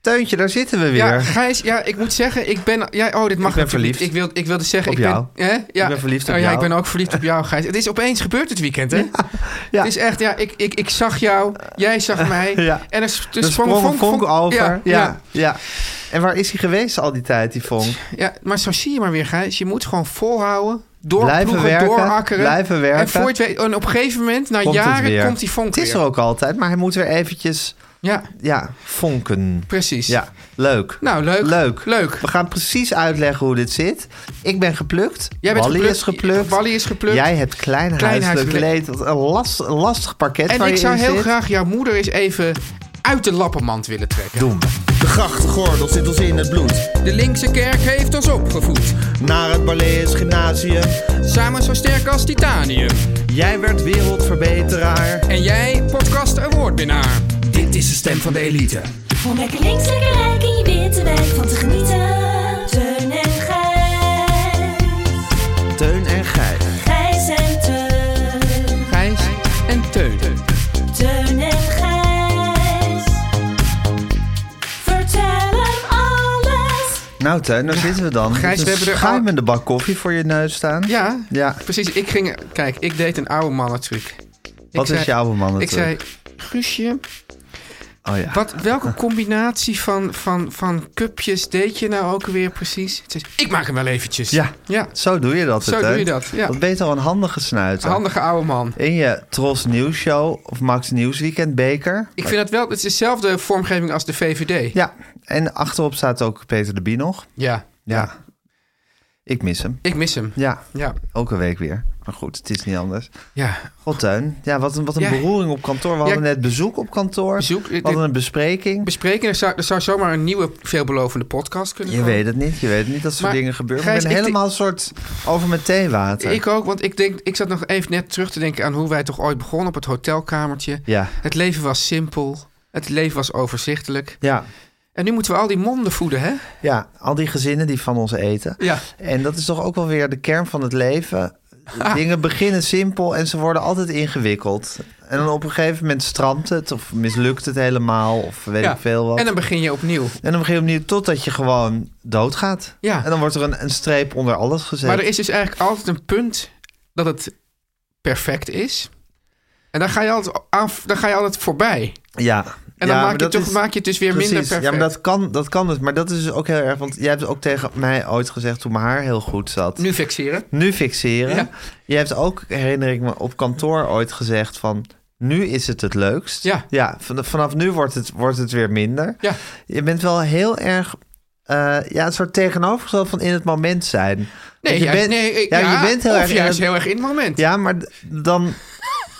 Teuntje, daar zitten we weer. Ja, Gijs, ja, ik moet zeggen, ik ben... Ja, Ik oh, dit mag ben natuurlijk verliefd. niet. Ik, wil, ik wilde zeggen... Op ik jou. Ben, hè? Ja. Ik ben verliefd op oh, jou. Ja, ik ben ook verliefd op jou, Gijs. Het is opeens gebeurd dit weekend, hè? ja. Het is echt, ja, ik, ik, ik zag jou, jij zag mij. Ja. En er, s- er Er sprong sprong een vonk, vonk, vonk over. Ja, Ja, ja. ja. En waar is hij geweest al die tijd, die vonk? ja, maar zo zie je maar weer, Gijs. Je moet gewoon volhouden, doorploegen, Blijven werken, doorakkeren. blijven werken. En, voor je het weet- en op een gegeven moment, na Komt het jaren, weer. komt die vonk Het is weer. er ook altijd, maar hij moet weer eventjes, Ja, ja, vonken. precies. Ja, leuk. Nou, leuk. Leuk. Leuk. We gaan precies uitleggen hoe dit zit. Ik ben geplukt. Jij bent Wally geplukt. is geplukt. Wally is geplukt. Jij hebt klein Klein huiselijk leed. huiselijk Wat Een last, een lastig pakket En waar ik je zou in heel zit. graag jouw moeder eens even uit de lappenmand willen trekken. Doen. De grachtgordel zit ons in het bloed. De linkse kerk heeft ons opgevoed. Naar het Balees Gymnasium. Samen zo sterk als titanium. Jij werd wereldverbeteraar. En jij, podcast awardwinnaar. Dit is de stem van de elite. Om lekker links, lekker rijk in je witte wijk van te genieten. Teun en Gijs. Teun en Gijs. Gijs en Teun. Gijs en Teun. Teun en Gijs. Vertel hem alles. Nou, Teun, daar zitten we dan. Gijs, Met we een hebben er al- schuimende bak koffie voor je neus staan. Ja, Ja. precies. Ik ging... Kijk, ik deed een oude mannentruc. Wat is je oude Ik mannentruc? zei, Guusje, Oh ja. wat, welke combinatie van, van, van cupjes deed je nou ook weer precies? Het is, ik maak hem wel eventjes. Ja. ja. Zo doe je dat, Zo hè, doe Teun? je dat, ja. Wat ben je toch een handige snuiter. Handige oude man. In je Tros Nieuws Show of Max Nieuwsweekend beker. Ik vind dat wel... Het is dezelfde vormgeving als de VVD. Ja, en achterop staat ook Peter de Bie nog. Ja. Ja. Ik mis hem. Ik mis hem. Ja, Ja. ook een week weer. Maar goed, het is niet anders. Ja. God, Teun. Ja, wat een, wat een Ja. beroering op kantoor. We hadden net bezoek op kantoor. Bezoek, We dit- hadden een bespreking. Bespreken, er zou, er zou zomaar een nieuwe veelbelovende podcast kunnen Je komen. weet het niet. Je weet niet dat soort Maar, dingen gebeuren. Gijs, ik ben ik helemaal een soort over mijn theewater. Ik ook, want ik, denk, ik zat nog even net terug te denken aan hoe wij toch ooit begonnen op het hotelkamertje. Ja. Het leven was simpel. Het leven was overzichtelijk. Ja. En nu moeten we al die monden voeden, hè? ja, al die gezinnen die van ons eten. Ja. En dat is toch ook wel weer de kern van het leven. Dingen beginnen simpel en ze worden altijd ingewikkeld. En dan op een gegeven moment strandt het of mislukt het helemaal of weet ja. ik veel wat. En dan begin je opnieuw. En dan begin je opnieuw totdat je gewoon doodgaat. Ja. En dan wordt er een, een streep onder alles gezet. Maar er is dus eigenlijk altijd een punt dat het perfect is. En dan ga je altijd, aan, dan ga je altijd voorbij. Ja. En Ja, dan maar maak je, dat toch, is- maak je het dus weer minder perfect. Ja, maar dat kan, dat kan dus. Maar dat is dus ook heel erg. Want jij hebt ook tegen mij ooit gezegd toen mijn haar heel goed zat. Nu fixeren. Nu fixeren. Ja. Je hebt ook, herinner ik me, op kantoor ooit gezegd van... Nu is het het leukst. Ja. ja van- vanaf nu wordt het, wordt het weer minder. Ja. Je bent wel heel erg... eh, ja, een soort tegenovergesteld van in het moment zijn. Want Nee, je juist- bent- nee ik- ja, ja, je bent heel of erg in juist het- heel erg in het moment. Ja, maar d- dan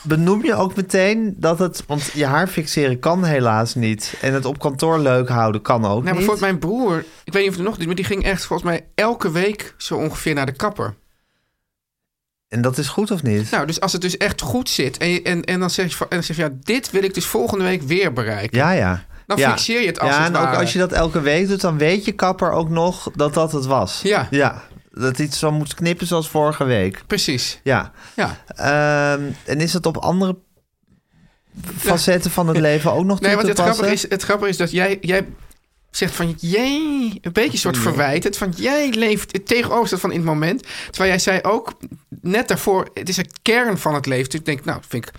benoem je ook meteen dat het... Want je haar fixeren kan helaas niet. En het op kantoor leuk houden kan ook Nou, maar niet. bijvoorbeeld mijn broer, ik weet niet of het nog doet, maar die ging echt volgens mij elke week zo ongeveer naar de kapper. En dat is goed of niet? Nou, dus als het dus echt goed zit en, je- en, en dan zeg je van, en dan zeg je, ja, dit wil ik dus volgende week weer bereiken. Ja, ja. Dan ja. fixeer je het als Ja, het en ook ware. als je dat elke week doet, dan weet je kapper ook nog dat dat het was. Ja. Ja, dat iets zo moet knippen zoals vorige week. Precies. Ja. Ja. Ehm, en is dat op andere facetten van het leven ook nog Nee, toe want te het grappige, passen? is, het grappige is dat jij, jij zegt van jij, een beetje een soort verwijtend van jij leeft het tegenovergestelde van in het moment. Terwijl jij zei ook net daarvoor, het is het kern van het leven. Dus ik denk, nou, vind ik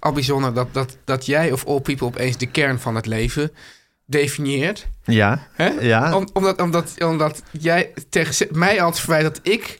al bijzonder dat, dat, dat jij of all people opeens de kern van het leven definieert. Ja. Hè? Ja. Om- omdat, omdat, omdat jij tegen ze- mij altijd verwijt dat ik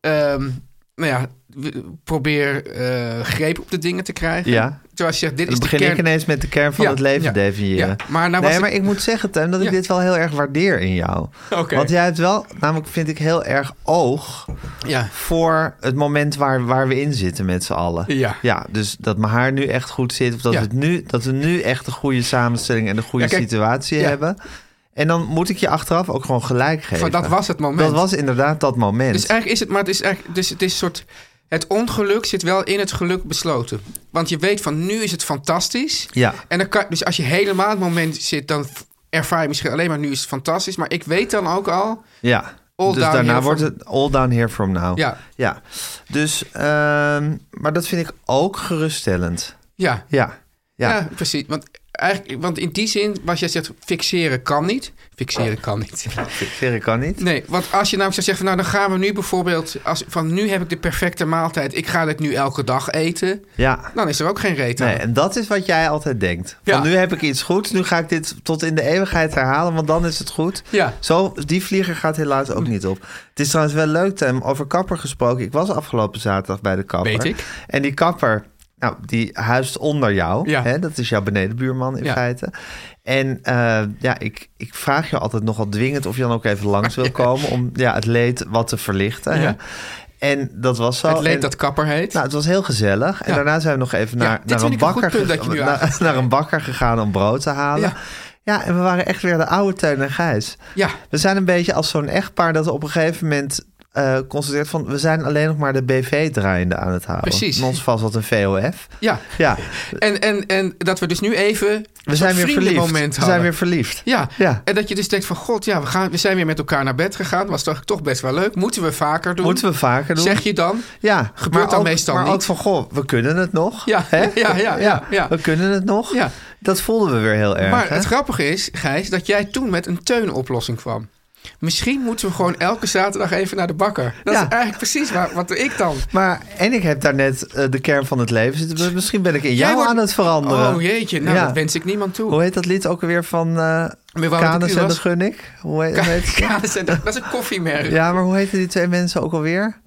ehm, nou ja, w- probeer eh, greep op de dingen te krijgen. Ja. Terwijl je zegt, dit Dan is de begin ik kern. ineens met de kern van Ja, het leven ja, definiëren. ja. Maar nou was nee, ik- maar ik moet zeggen, Tim, dat ik Ja. dit wel heel erg waardeer in jou. Oké. Want jij hebt wel, namelijk vind ik heel erg oog Ja. voor het moment waar, waar we in zitten met z'n allen. Ja. ja. Dus dat mijn haar nu echt goed zit. Of dat, Ja. we het nu, dat we nu echt de goede samenstelling en de goede Ja, kijk, situatie ja. hebben. En dan moet ik je achteraf ook gewoon gelijk geven. Van, dat was het moment. Dat was inderdaad dat moment. Dus eigenlijk is het, maar het is eigenlijk, dus het is een soort, het ongeluk zit wel in het geluk besloten. Want je weet van nu is het fantastisch. Ja. En dan kan, dus als je helemaal het moment zit, dan ervaar je misschien alleen maar nu is het fantastisch. Maar ik weet dan ook al, Ja. All dus down daarna here wordt from- het all down here from now. Ja. ja. Dus, ehm, maar dat vind ik ook geruststellend. ja, Ja. ja. Ja. ja. precies. Want, eigenlijk, want in die zin, wat jij zegt, fixeren kan niet. Fixeren kan niet. Verre kan niet. Nee, want als je namelijk zou zeggen, van, nou dan gaan we nu bijvoorbeeld, als, van nu heb ik de perfecte maaltijd, ik ga dit nu elke dag eten. Ja. Dan is er ook geen reet aan. Nee, en dat is wat jij altijd denkt. Van Ja. nu heb ik iets goeds, nu ga ik dit tot in de eeuwigheid herhalen, want dan is het goed. Ja. Zo, die vlieger gaat helaas ook niet op. Het is trouwens wel leuk, Tim, over kapper gesproken. Ik was afgelopen zaterdag bij de kapper. Weet ik. En die kapper, nou, die huist onder jou. Ja. Hè? Dat is jouw benedenbuurman in Ja. feite. En eh, ja, ik, ik vraag je altijd nogal dwingend of je dan ook even langs wil komen om ja, het leed wat te verlichten. Ja. Hè? En dat was zo. Het leed En- dat kapper heet. nou, het was heel gezellig. En Ja. daarna zijn we nog even naar, dit naar, vind een ik een goed bakker punt dat geg- je nu naar, aangeeft. naar een bakker gegaan om brood te halen. Ja. Ja. en we waren echt weer de oude Teun en Gijs. Ja. We zijn een beetje als zo'n echtpaar dat op een gegeven moment eh, constateert van... we zijn alleen nog maar de BV draaiende aan het houden. Precies. En ons vast wat een VOF. Ja. Ja, En, en, en dat we dus nu even een we soort zijn weer vriendelijk verliefd. moment we zijn hadden. weer verliefd. ja. Ja. en dat je dus denkt van god, ja, we, gaan, we zijn weer met elkaar naar bed gegaan. Was toch, toch best wel leuk. Moeten we vaker doen? Moeten we vaker doen. Zeg je dan? Ja, Gebeurt maar dan ook, meestal maar niet. ook van, goh, we kunnen het nog. Ja, hè? ja, ja, ja, ja. We kunnen het nog. Ja. Dat voelden we weer heel erg. maar hè? het grappige is, Gijs, dat jij toen met een teunoplossing kwam. Misschien moeten we gewoon elke zaterdag even naar de bakker. Dat Ja. is eigenlijk precies waar, wat ik dan. Maar, en ik heb daarnet net de kern van het leven zitten. Maar Misschien ben ik in jou wordt- aan het veranderen. Oh jeetje, nou Ja. dat wens ik niemand toe. Hoe heet dat lied ook alweer van eh Met Wout Canis de en de Kulas? Gunnik? Hoe heet, hoe heet Ja, dat is een- dat is een koffiemerk. Ja, maar hoe heten die twee mensen ook alweer?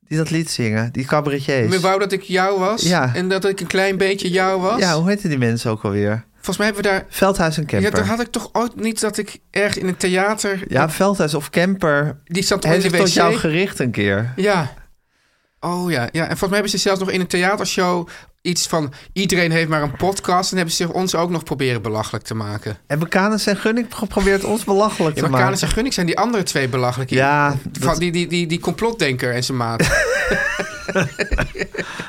Die dat lied zingen, die cabaretiers. Ik wou dat ik jou was Ja. en dat ik een klein beetje jou was. Ja, hoe heten die mensen ook alweer? Volgens mij hebben we daar Veldhuis en Ja, Kemper. toen had ik toch ooit niet dat ik erg in een theater... Ja, Veldhuis of Kemper. die zat toch Hij in de zich wc? tot jou gericht een keer. ja. Oh ja, ja. En volgens mij hebben ze zelfs nog in een theatershow iets van... iedereen heeft maar een podcast. En hebben ze zich ons ook nog proberen belachelijk te maken. Hebben Canis en Gunnik geprobeerd ons belachelijk te Ja, maar maken? Kanis en Gunnik zijn die andere twee belachelijk. Ja, Van dat- die, die, die, die complotdenker en zijn maat.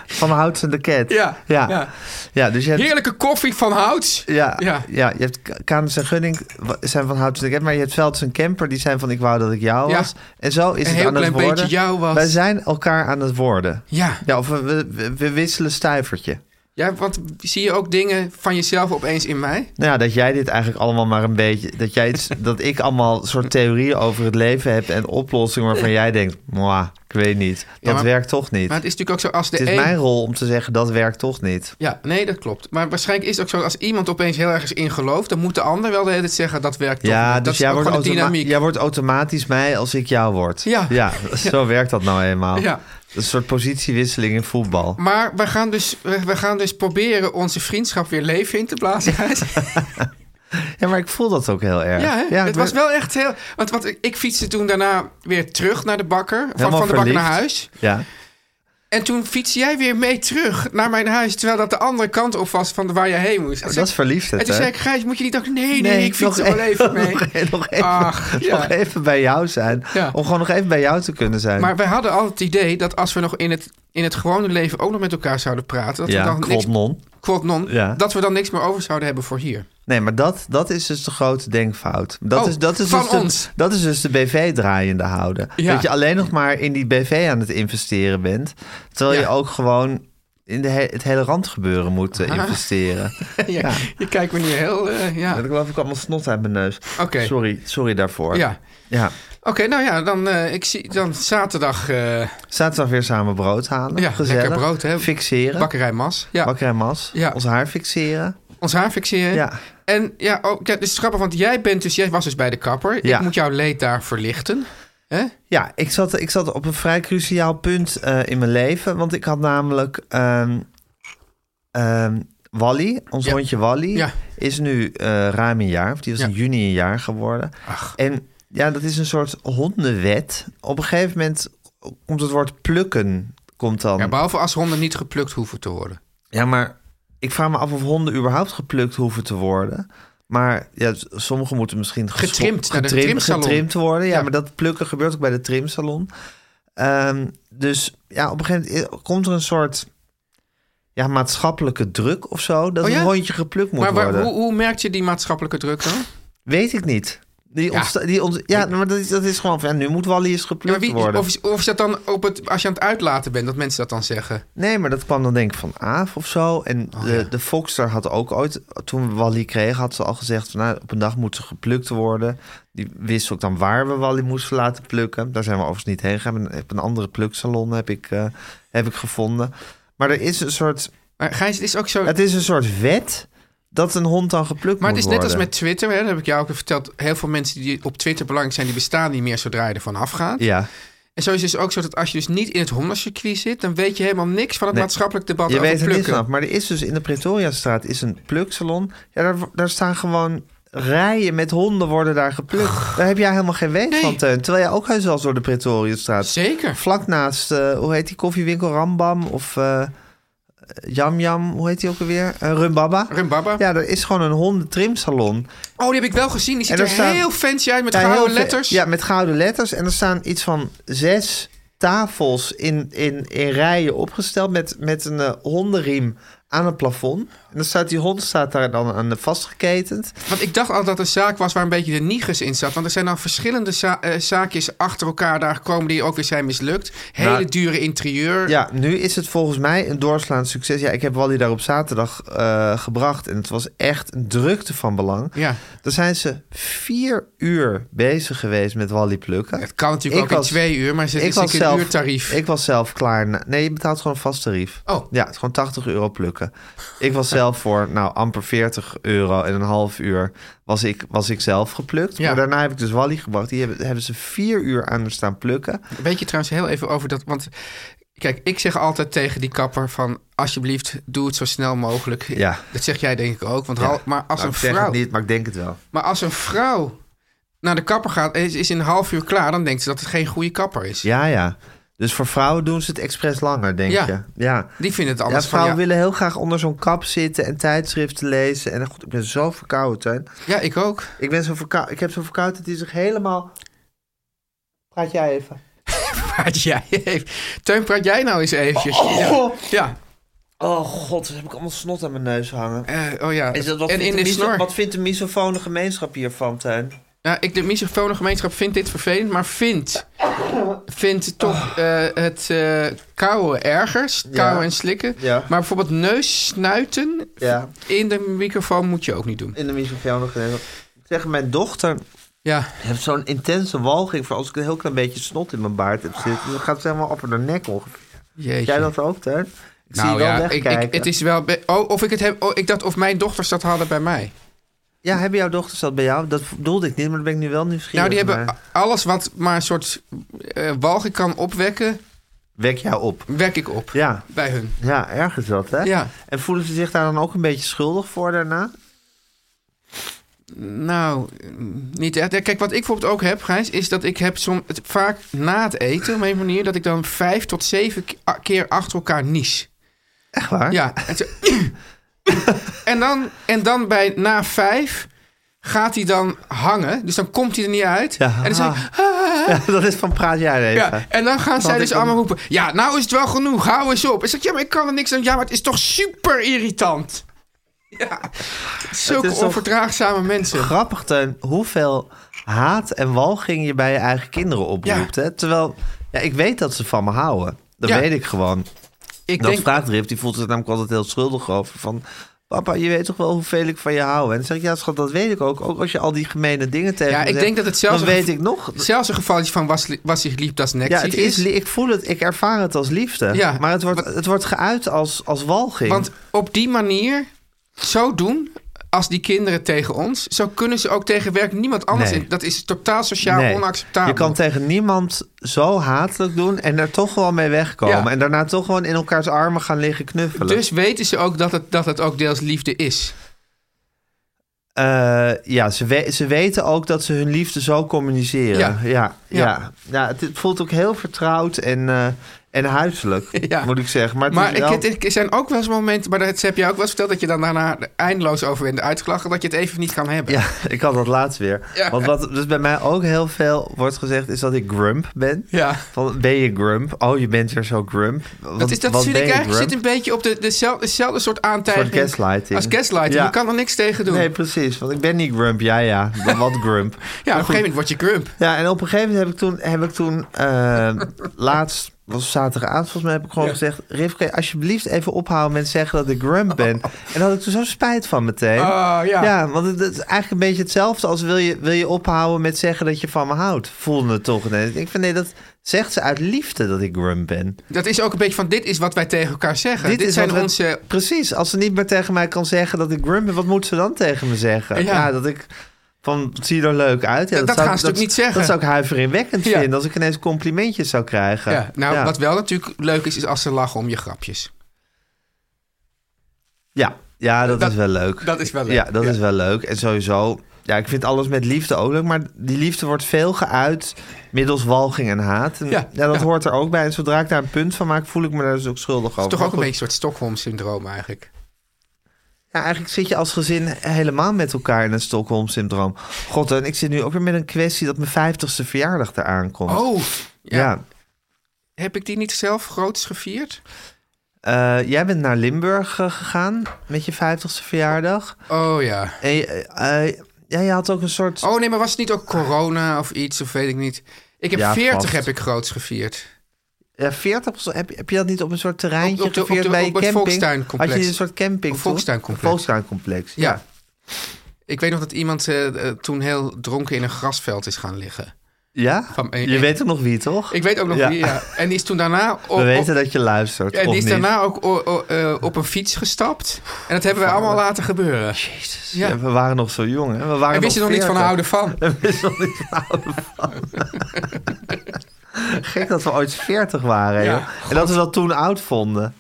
Van Houts en de Cat. Ja, ja. ja. Ja, dus je hebt Heerlijke koffie van Houts. Ja, Ja. ja. je hebt K- Kanis en Gunning wa- zijn van Houten de Kemp, maar je hebt Velds en Kemper, die zijn van ik wou dat ik jou Ja. was. En zo is Een het heel aan klein het worden. beetje jou was. Wij zijn elkaar aan het worden. Ja. Ja, of we, we- we, we wisselen stuivertje. Ja, want zie je ook dingen van jezelf opeens in mij? Nou ja, dat jij dit eigenlijk allemaal maar een beetje... Dat, jij iets, dat ik allemaal soort theorieën over het leven heb en oplossingen waarvan jij denkt... Mwah, ik weet niet, dat maar- werkt toch niet. Maar het is natuurlijk ook zo als de het is een... mijn rol om te zeggen, dat werkt toch niet. Ja, nee, dat klopt. Maar waarschijnlijk is het ook zo, als iemand opeens heel ergens in gelooft, dan moet de ander wel de hele tijd zeggen dat werkt toch. Ja, dus niet. dat jij ook wordt, gewoon de automa- dynamiek. jij wordt automatisch mij als ik jou word. Ja. zo werkt dat nou eenmaal. Ja. Een soort positiewisseling in voetbal. Maar we gaan, dus, we, we gaan dus proberen onze vriendschap weer leven in te blazen. Gijs. Ja, maar ik voel dat ook heel erg. ja, hè? het maar- was wel echt heel... Want, want ik- ik fietste toen daarna weer terug naar de bakker. Van, Helemaal van de bakker naar verliefd. huis. Ja, En toen fietste jij weer mee terug naar mijn huis, terwijl dat de andere kant op was van waar jij heen moest. En toen Oh, dat is zei ik- verliefdheid, En toen hè? zei ik, Gijs, moet je niet dachten, nee, nee, Nee, ik fiets nog er wel even mee. nog, e- nog even, Ach, ja. nog even bij jou zijn. Ja. Om gewoon nog even bij jou te kunnen zijn. Maar wij hadden altijd het idee dat als we nog in het, in het gewone leven ook nog met elkaar zouden praten, dat we ja, dan niks, klopt non. quod non, Ja. dat we dan niks meer over zouden hebben voor hier. Nee, maar dat, dat is dus de grote denkfout. Dat Oh, is, dat is van dus de, ons. Dat is dus de BV draaiende houden. Ja. Dat je alleen nog maar in die BV aan het investeren bent. Terwijl Ja. je ook gewoon in de he- het hele randgebeuren moet eh, investeren. Ah. Ja, Je kijkt me nu heel... eh, ja, Dat oké. geloof ik allemaal snot uit mijn neus. Oké. Sorry, sorry daarvoor. Ja. ja. Oké, nou ja, dan, eh, ik zie, dan zaterdag eh Zaterdag weer samen brood halen. Ja, Gezellig. lekker brood, hè? Fixeren. bakkerij Mas. Ja, Bakker en mas. Ja. Ons haar fixeren. ons haar fixeren. Ja. En ja, oh, ja, dit is grappig, want jij, bent dus, jij was dus bij de kapper. Ja. Ik moet jouw leed daar verlichten. hè? Ja, ik zat, ik zat op een vrij cruciaal punt eh, in mijn leven. Want ik had namelijk ehm, ehm, Wally, ons Ja. hondje Wally, Ja. is nu eh, ruim een jaar. Of die was Ja. in juni een jaar geworden. En ja, dat is een soort hondenwet. Op een gegeven moment komt het woord plukken. Komt dan. Ja, behalve als honden niet geplukt hoeven te worden. Ja, maar ik vraag me af of honden überhaupt geplukt hoeven te worden. Maar ja, s- sommigen moeten misschien gescho- Getrimd, naar de trimsalon. getrimd worden. Ja, Ja. maar dat plukken gebeurt ook bij de trimsalon. Ehm, dus ja, op een gegeven moment komt er een soort ja, maatschappelijke druk of zo. Dat Oh ja? een hondje geplukt moet maar waar- worden. hoe, hoe merk je die maatschappelijke druk dan? Weet ik niet. Die Ja. ontsta- die ont- ja maar dat is, dat is gewoon van ja, nu moet Wally eens Ja, geplukt maar wie, worden. of, is- of is dat dan op het, als je aan het uitlaten bent, dat mensen dat dan zeggen? Nee, maar dat kwam dan denk ik van Aaf of zo. En Oh, de, de Foxter had ook ooit, toen we Wally kregen, had ze al gezegd... Van, nou, op een dag moet ze geplukt worden. Die wist ook dan waar we Wally moesten laten plukken. Daar zijn we overigens niet heen gegaan. Ik heb een andere pluksalon heb ik, eh, heb ik gevonden. Maar er is een soort, Maar Gijs, het is ook zo... het is een soort wet dat een hond dan geplukt Maar het moet is net als worden. met Twitter, hè, dat heb ik jou ook al verteld. Heel veel mensen die op Twitter belangrijk zijn, die bestaan niet meer zodra je ervan afgaat. Ja, En zo is het dus ook zo dat als je dus niet in het hondencircuit zit, dan weet je helemaal niks van het Nee. maatschappelijk debat je over weet er plukken. niet vanaf. Maar er is dus in de Pretoriastraat is een pluksalon. Ja, daar, daar staan gewoon rijen met honden worden daar geplukt. Daar heb jij helemaal geen weet Nee. van, Teun. Terwijl jij ook heus wel eens door de Pretoriastraat... Zeker. Vlak naast, eh, hoe heet die koffiewinkel? Rambam of eh Yam Yam, hoe heet die ook alweer? Eh, Rumbaba. Rumbaba. Ja, er is gewoon een hondentrimsalon. Oh, die heb ik wel gezien. Die ziet En er er staan- heel fancy uit met Ja, heel gouden ve- letters. Ja, met gouden letters. En er staan iets van zes tafels in, in, in rijen opgesteld met, met een eh, hondenriem aan het plafond. En dan staat die hond staat daar dan aan eh, vastgeketend. Want ik dacht al dat het een zaak was waar een beetje de niggers in zat. Want er zijn dan verschillende za- eh, zaakjes achter elkaar daar gekomen die ook weer zijn mislukt. Hele Nou, dure interieur. Ja, nu is het volgens mij een doorslaand succes. Ja, ik heb Wally daar op zaterdag eh, gebracht. En het was echt een drukte van belang. Ja. Daar zijn ze vier uur bezig geweest met Wally plukken. Het kan natuurlijk Ik ook was- in twee uur, maar het is ik was natuurlijk een zelf, uurtarief. Ik was zelf klaar. na- Nee, je betaalt gewoon een vast tarief. Oh. Ja, het is gewoon 80 euro plukken. Ik was zelf voor, nou, amper 40 euro en een half uur was ik, was ik zelf geplukt. Ja. Maar daarna heb ik dus Wally gebracht. Die hebben, hebben ze vier uur aan er staan plukken. Weet je trouwens heel even over dat... Want kijk, ik zeg altijd tegen die kapper van... alsjeblieft, doe het zo snel mogelijk. Ja. Dat zeg jij denk ik ook. Want hal- maar als Nou, een ik zeg vrouw... het niet, maar ik denk het wel. Maar als een vrouw naar de kapper gaat en is, is in een half uur klaar... dan denkt ze dat het geen goede kapper is. Ja, ja. Dus voor vrouwen doen ze het expres langer, denk Ja. je. Ja. Die vinden het Ja, anders vrouwen van... Ja, willen heel graag onder zo'n kap zitten en tijdschriften lezen. En goed, ik ben zo verkouden, Teun. ja, ik ook. Ik, ben zo verkou- ik heb zo'n verkoudheid die zich helemaal... Praat jij even. Praat jij even. Teun, praat jij nou eens eventjes. Ja. ja. Oh god, dus heb ik allemaal snot aan mijn neus hangen. Eh, oh ja. Is dat wat, en vindt de in de miso- snor. wat vindt de misofone gemeenschap hiervan, Teun? Nou, ik, de misofone gemeenschap vindt dit vervelend, maar vindt, vindt Oh. toch eh, het eh kauwen erger, kauwen en slikken. Ja. Maar bijvoorbeeld neus snuiten Ja. in de microfoon moet je ook niet doen. In de misofone gemeenschap. Ik zeg, mijn dochter Ja, heeft zo'n intense walging voor als ik een heel klein beetje snot in mijn baard heb zitten. Dan gaat ze helemaal op haar nek ongeveer. jeetje. Heb jij dat ook, Teun? Ik zie nou je wel ja, ik, wegkijken. ik- het is wel... be- Oh, of ik het heb... Oh, ik dacht of mijn dochters dat hadden bij mij. Ja, hebben jouw dochters dat bij jou? Dat bedoelde ik niet, maar dat ben ik nu wel nieuwsgierig nou, die hebben naar. a- alles wat maar een soort eh walging kan opwekken, Wek jou op. wek ik op. Ja, Bij hun. ja, ergens dat, hè? Ja. En voelen ze zich daar dan ook een beetje schuldig voor daarna? Nou, mm, niet echt. Ja, Kijk, wat ik bijvoorbeeld ook heb, Gijs, is dat ik heb som, het, vaak na het eten, op een manier, dat ik dan vijf tot zeven ke- a- keer achter elkaar nies. Echt waar? Ja. En, zo- en, dan, en dan bij na vijf gaat hij dan hangen, dus dan komt hij er niet uit. Ja. En dan zeg ik, "Ah." Ja, dat is van praat jij even. Ja, en dan gaan zij ik dus dan- allemaal roepen... Ja, nou is het wel genoeg, hou eens op. Ik zeg, ja, maar ik kan er niks aan. Ja, maar het is toch super irritant. Ja, zulke is toch- onverdraagzame mensen. Grappig, Teun, hoeveel haat en walging je bij je eigen kinderen oproept, hè? Terwijl, ja, ik weet dat ze van me houden. Dat Ja. weet ik gewoon. Ik dat denk, vraagt Rip, die voelt zich namelijk altijd heel schuldig over. Van, papa, je weet toch wel hoeveel ik van je hou? En dan zeg ik, ja schat, dat weet ik ook. Ook als je al die gemene dingen tegen Ja, me ik zegt, denk dat het zelfs Dan een- weet ik nog... zelfs een gevalletje van was, was zich liep, dat is Ja, het is, is li- ik voel het, ik ervaar het als liefde. Ja, maar het wordt, het wordt geuit als, als walging. Want op die manier, zo doen, als die kinderen tegen ons, zo kunnen ze ook tegen werk niemand anders Nee. in. Dat is totaal sociaal Nee. onacceptabel. Je kan tegen niemand zo hatelijk doen en er toch wel mee wegkomen. Ja. En daarna toch gewoon in elkaars armen gaan liggen knuffelen. dus weten ze ook dat het, dat het ook deels liefde is. Eh, ja, ze, we- ze weten ook dat ze hun liefde zo communiceren. Ja, Ja. ja, ja. Ja. het, het voelt ook heel vertrouwd en, eh, en huiselijk, Ja. moet ik zeggen. Maar, het Maar is wel- ik, het- er zijn ook wel eens momenten, maar dat heb jij ook wel eens verteld, dat je dan daarna eindeloos over bent uitgelachen, dat je het even niet kan hebben. Ja, ik had dat laatst weer. Ja. Want wat dus bij mij ook heel veel wordt gezegd... is dat ik grump ben. Ja. Van, ben je grump? Oh, je bent weer zo grump. Wat, Dat, is, dat wat vind ben ik je eigenlijk zit grump? een beetje op de, dezelfde, dezelfde soort aantijging. Soort gaslighting. Als gaslighting. Ja. Je kan er niks tegen doen. Nee, precies. Want ik ben niet grump. Ja, ja. maar Wat grump. ja, op Maar goed. een gegeven moment word je grump. Ja, en op een gegeven moment heb ik toen, heb ik toen eh, laatst, was zaterdagavond volgens mij, heb ik gewoon gezegd... Rif, kan je alsjeblieft even ophouden met zeggen dat ik grump ben? En daar had ik toen zo spijt van meteen. Oh, ja. Ja, want het, het is eigenlijk een beetje hetzelfde als wil je, wil je ophouden met zeggen dat je van me houdt. Voelde het toch ineens. Ik vind nee, dat zegt ze uit liefde dat ik grump ben. Dat is ook een beetje van, dit is wat wij tegen elkaar zeggen. Dit, is zijn wat we- onze... Precies, als ze niet meer tegen mij kan zeggen dat ik grump ben, wat moet ze dan tegen me zeggen? Ja, Ja. dat ik... Van, zie je er leuk uit? Ja, Dat zou gaan ik- ze natuurlijk niet zeggen. Dat zou ik huiveringwekkend Ja. vinden als ik ineens complimentjes zou krijgen. Ja, nou, ja. wat wel natuurlijk leuk is, is als ze lachen om je grapjes. Ja, ja dat, Dat- is wel leuk. dat is wel leuk, Ja, dat ja. is wel leuk. En sowieso, ja, ik vind alles met liefde ook leuk. Maar die liefde wordt veel geuit middels walging en haat. En, ja, Ja, dat ja. hoort er ook bij. En zodra ik daar een punt van maak, voel ik me daar dus ook schuldig over. Toch ook Maar een goed, beetje een soort Stockholm-syndroom eigenlijk. Ja, eigenlijk zit je als gezin helemaal met elkaar in het Stockholm-syndroom. God, en ik zit nu ook weer met een kwestie dat mijn vijftigste verjaardag eraan komt. Oh, ja. ja. Heb ik die niet zelf groots gevierd? Eh, jij bent naar Limburg eh, gegaan met je vijftigste verjaardag. Oh ja. En je, eh, eh, ja, je had ook een soort... Oh nee, maar was het niet ook corona of iets, of weet ik niet. Ik heb Ja, 40 vast. heb ik groots gevierd. Ja, 40 procent. Heb, heb je dat niet op een soort terreintje Op- op de- op gevierd de- bij op je het camping? Volkstuincomplex. Had je een soort camping? Op toch? Volkstuincomplex. Een Volkstuincomplex, ja. Ja. Ik weet nog dat iemand eh, eh, toen heel dronken in een grasveld is gaan liggen. Ja? Van- je ik- weet er nog wie, toch? Ik weet ook nog Ja. wie, ja. En die is toen daarna... Op, We op- weten dat je luistert, en of die is niet? daarna ook o- o- eh, op een fiets gestapt. En dat hebben wij allemaal laten gebeuren. Jezus, Ja. ja, we waren nog zo jong, hè? We waren En wist je nog niet van 40. houden van? We wisten nog niet van houden van. Gek dat we ooit 40 waren, Ja, joh. En dat we dat toen oud vonden.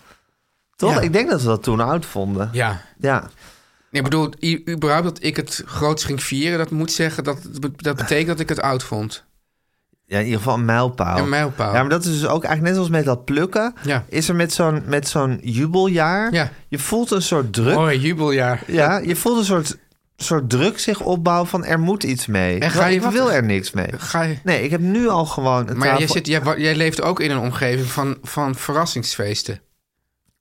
Toch? Ja. Ik denk dat we dat toen oud vonden. Ja. ja. Nee, ik bedoel, i- überhaupt dat ik het groots ging vieren, dat moet zeggen dat het be- dat betekent dat ik het oud vond. Ja, in ieder geval een mijlpaal. Een mijlpaal. Ja, maar dat is dus ook eigenlijk net als met dat plukken. Ja. Is er met zo'n, met zo'n jubeljaar. Ja. Je voelt een soort druk. Mooi jubeljaar. Ja, je voelt een soort, soort druk zich opbouwen van er moet iets mee. En ga Terwijl je ik wat- wil er niks mee. Ga je. Nee, ik heb nu al gewoon een Maar ja, jij, tafel- zit, jij, wa- jij leeft ook in een omgeving van, van verrassingsfeesten.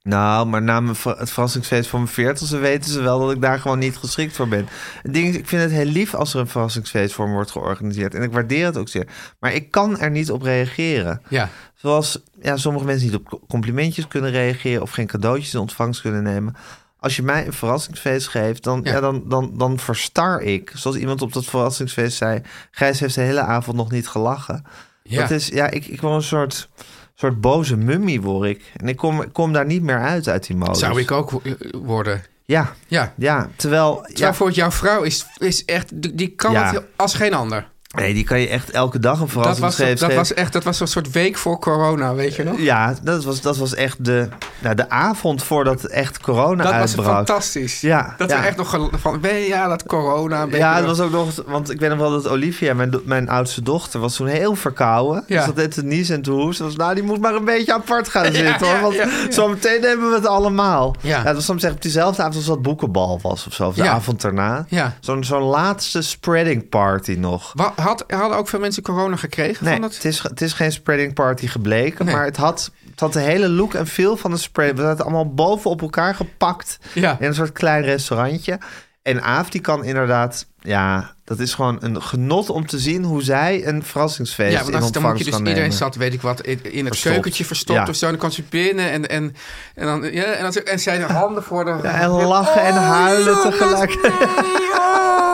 Nou, maar na mijn ver- het verrassingsfeest van mijn veertigste weten ze wel dat ik daar gewoon niet geschikt voor ben. Het ding is, ik vind het heel lief als er een verrassingsfeest voor me wordt georganiseerd. En ik waardeer het ook zeer. Maar ik kan er niet op reageren. Ja. Zoals ja, sommige mensen niet op complimentjes kunnen reageren of geen cadeautjes in ontvangst kunnen nemen. Als je mij een verrassingsfeest geeft, dan, ja. Ja. dan, dan, dan verstar ik. Zoals iemand op dat verrassingsfeest zei, Gijs heeft de hele avond nog niet gelachen. Ja. Dat is, ja, ik, ik word een soort, soort boze mummie, word ik. En ik kom, ik kom daar niet meer uit, uit die modus. Zou ik ook wo- eh, worden. Ja, Ja. ja. Terwijl, Terwijl ja, voor jouw vrouw is, is echt, die- die kan Ja. het als geen ander. nee, die kan je echt elke dag een Dat was, verrassingsfeest dat geven. was echt, dat was een soort week voor corona, weet je nog? Ja, dat was, dat was echt de, nou, de avond voordat echt corona Dat was uitbrak. fantastisch. Ja, dat ja. we echt nog gel- van, weet je, ja, dat corona. weet Ja, je het wel. was ook nog, want ik weet nog wel dat Olivia, mijn, do- mijn oudste dochter, was toen heel verkouden. Ja. Dus dat deed te niezen en te hoesten. Dus, nou, die moet maar een beetje apart gaan zitten, hoor, ja, want ja, ja. zometeen hebben we het allemaal. Ja. dat was soms echt op diezelfde avond als dat boekenbal was of zo, of de Ja. avond daarna. Ja. Zo'n zo'n laatste spreading party nog. Wa- had, hadden ook veel mensen corona gekregen Nee, van dat? het is, ge- het is geen spreading party gebleken, Nee. maar het had, het had de hele look en feel van een spreading. We zaten allemaal boven op elkaar gepakt Ja. in een soort klein restaurantje. En Aaf die kan inderdaad, ja, dat is gewoon een genot om te zien hoe zij een verrassingsfeest Ja, want in als, dan moet je ontvangst dus kan iedereen nemen. zat, weet ik wat, in, in het Verstopt. keukentje verstopt Ja. of zo. En dan kwam ze binnen en, en, en, dan, ja, en, dan, zo- en zij de handen voor de... Oh, Ja, en lachen en huilen jongens, tegelijk. nee, oh.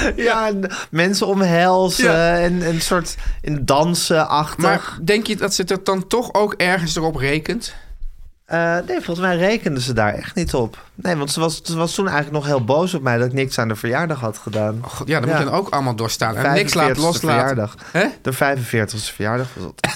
Ja, en mensen omhelzen Ja. en en een soort in dansenachtig. Maar denk je dat ze dat dan toch ook ergens erop rekent? Eh, nee, volgens mij rekenden ze daar echt niet op. Nee, want ze was, ze was toen eigenlijk nog heel boos op mij dat ik niks aan de verjaardag had gedaan. Oh God, ja, dan moet je dan ook allemaal doorstaan. En niks laat 45ste loslaten. verjaardag. Hè? De 45ste verjaardag was dat.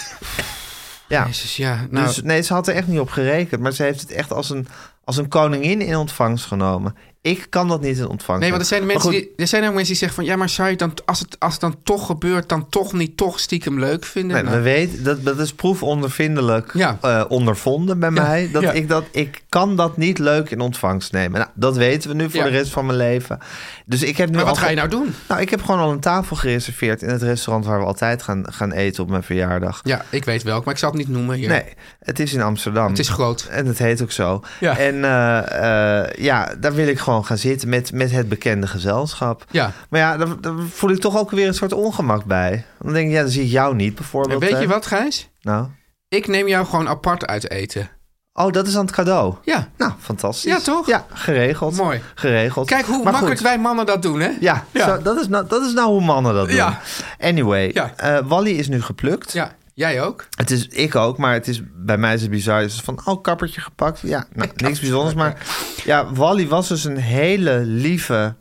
ja. Jezus, ja. Nou, dus nee, ze had er echt niet op gerekend. Maar ze heeft het echt als een, als een koningin in ontvangst genomen. Ik kan dat niet in ontvangst nee, want er nemen. zijn, Maar mensen goed, die, er zijn ook mensen die zeggen van... Ja, maar zou je het dan, als het, als het dan toch gebeurt, dan toch niet toch stiekem leuk vinden? Nee, Nou, we weten, dat, dat is proefondervindelijk Ja. eh, ondervonden bij Ja, mij. Dat ja. ik, dat, ik kan dat niet leuk in ontvangst nemen. Nou, dat weten we nu voor Ja. de rest van mijn leven. Dus ik heb nu maar wat al ga je ge- nou doen? Nou, ik heb gewoon al een tafel gereserveerd in het restaurant waar we altijd gaan, gaan eten op mijn verjaardag. Ja, ik weet welk, maar ik zal het niet noemen hier. Nee, het is in Amsterdam. Het is groot. En het heet ook zo. Ja. En eh, eh, ja, daar wil ik gewoon gaan zitten met, met het bekende gezelschap. Ja. Maar ja, daar, daar voel ik toch ook weer een soort ongemak bij. Dan denk ik, ja, dan zie ik jou niet En bijvoorbeeld. weet je hè. wat, Gijs? Nou. Ik neem jou gewoon apart uit eten. Oh, dat is aan het cadeau. Ja. Nou, fantastisch. Ja, toch? Ja, geregeld. Mooi. Geregeld. Kijk hoe Maar goed. makkelijk wij mannen dat doen, hè? Ja, Ja. zo, dat, is nou, dat is nou hoe mannen dat doen. Ja. Anyway, Ja. eh, Wally is nu geplukt. Ja, jij ook. Het is ik ook, maar het is bij mij is het bizar. Het is van oh kappertje gepakt. Ja, nou, niks bijzonders, maar ja, Wally was dus een hele lieve,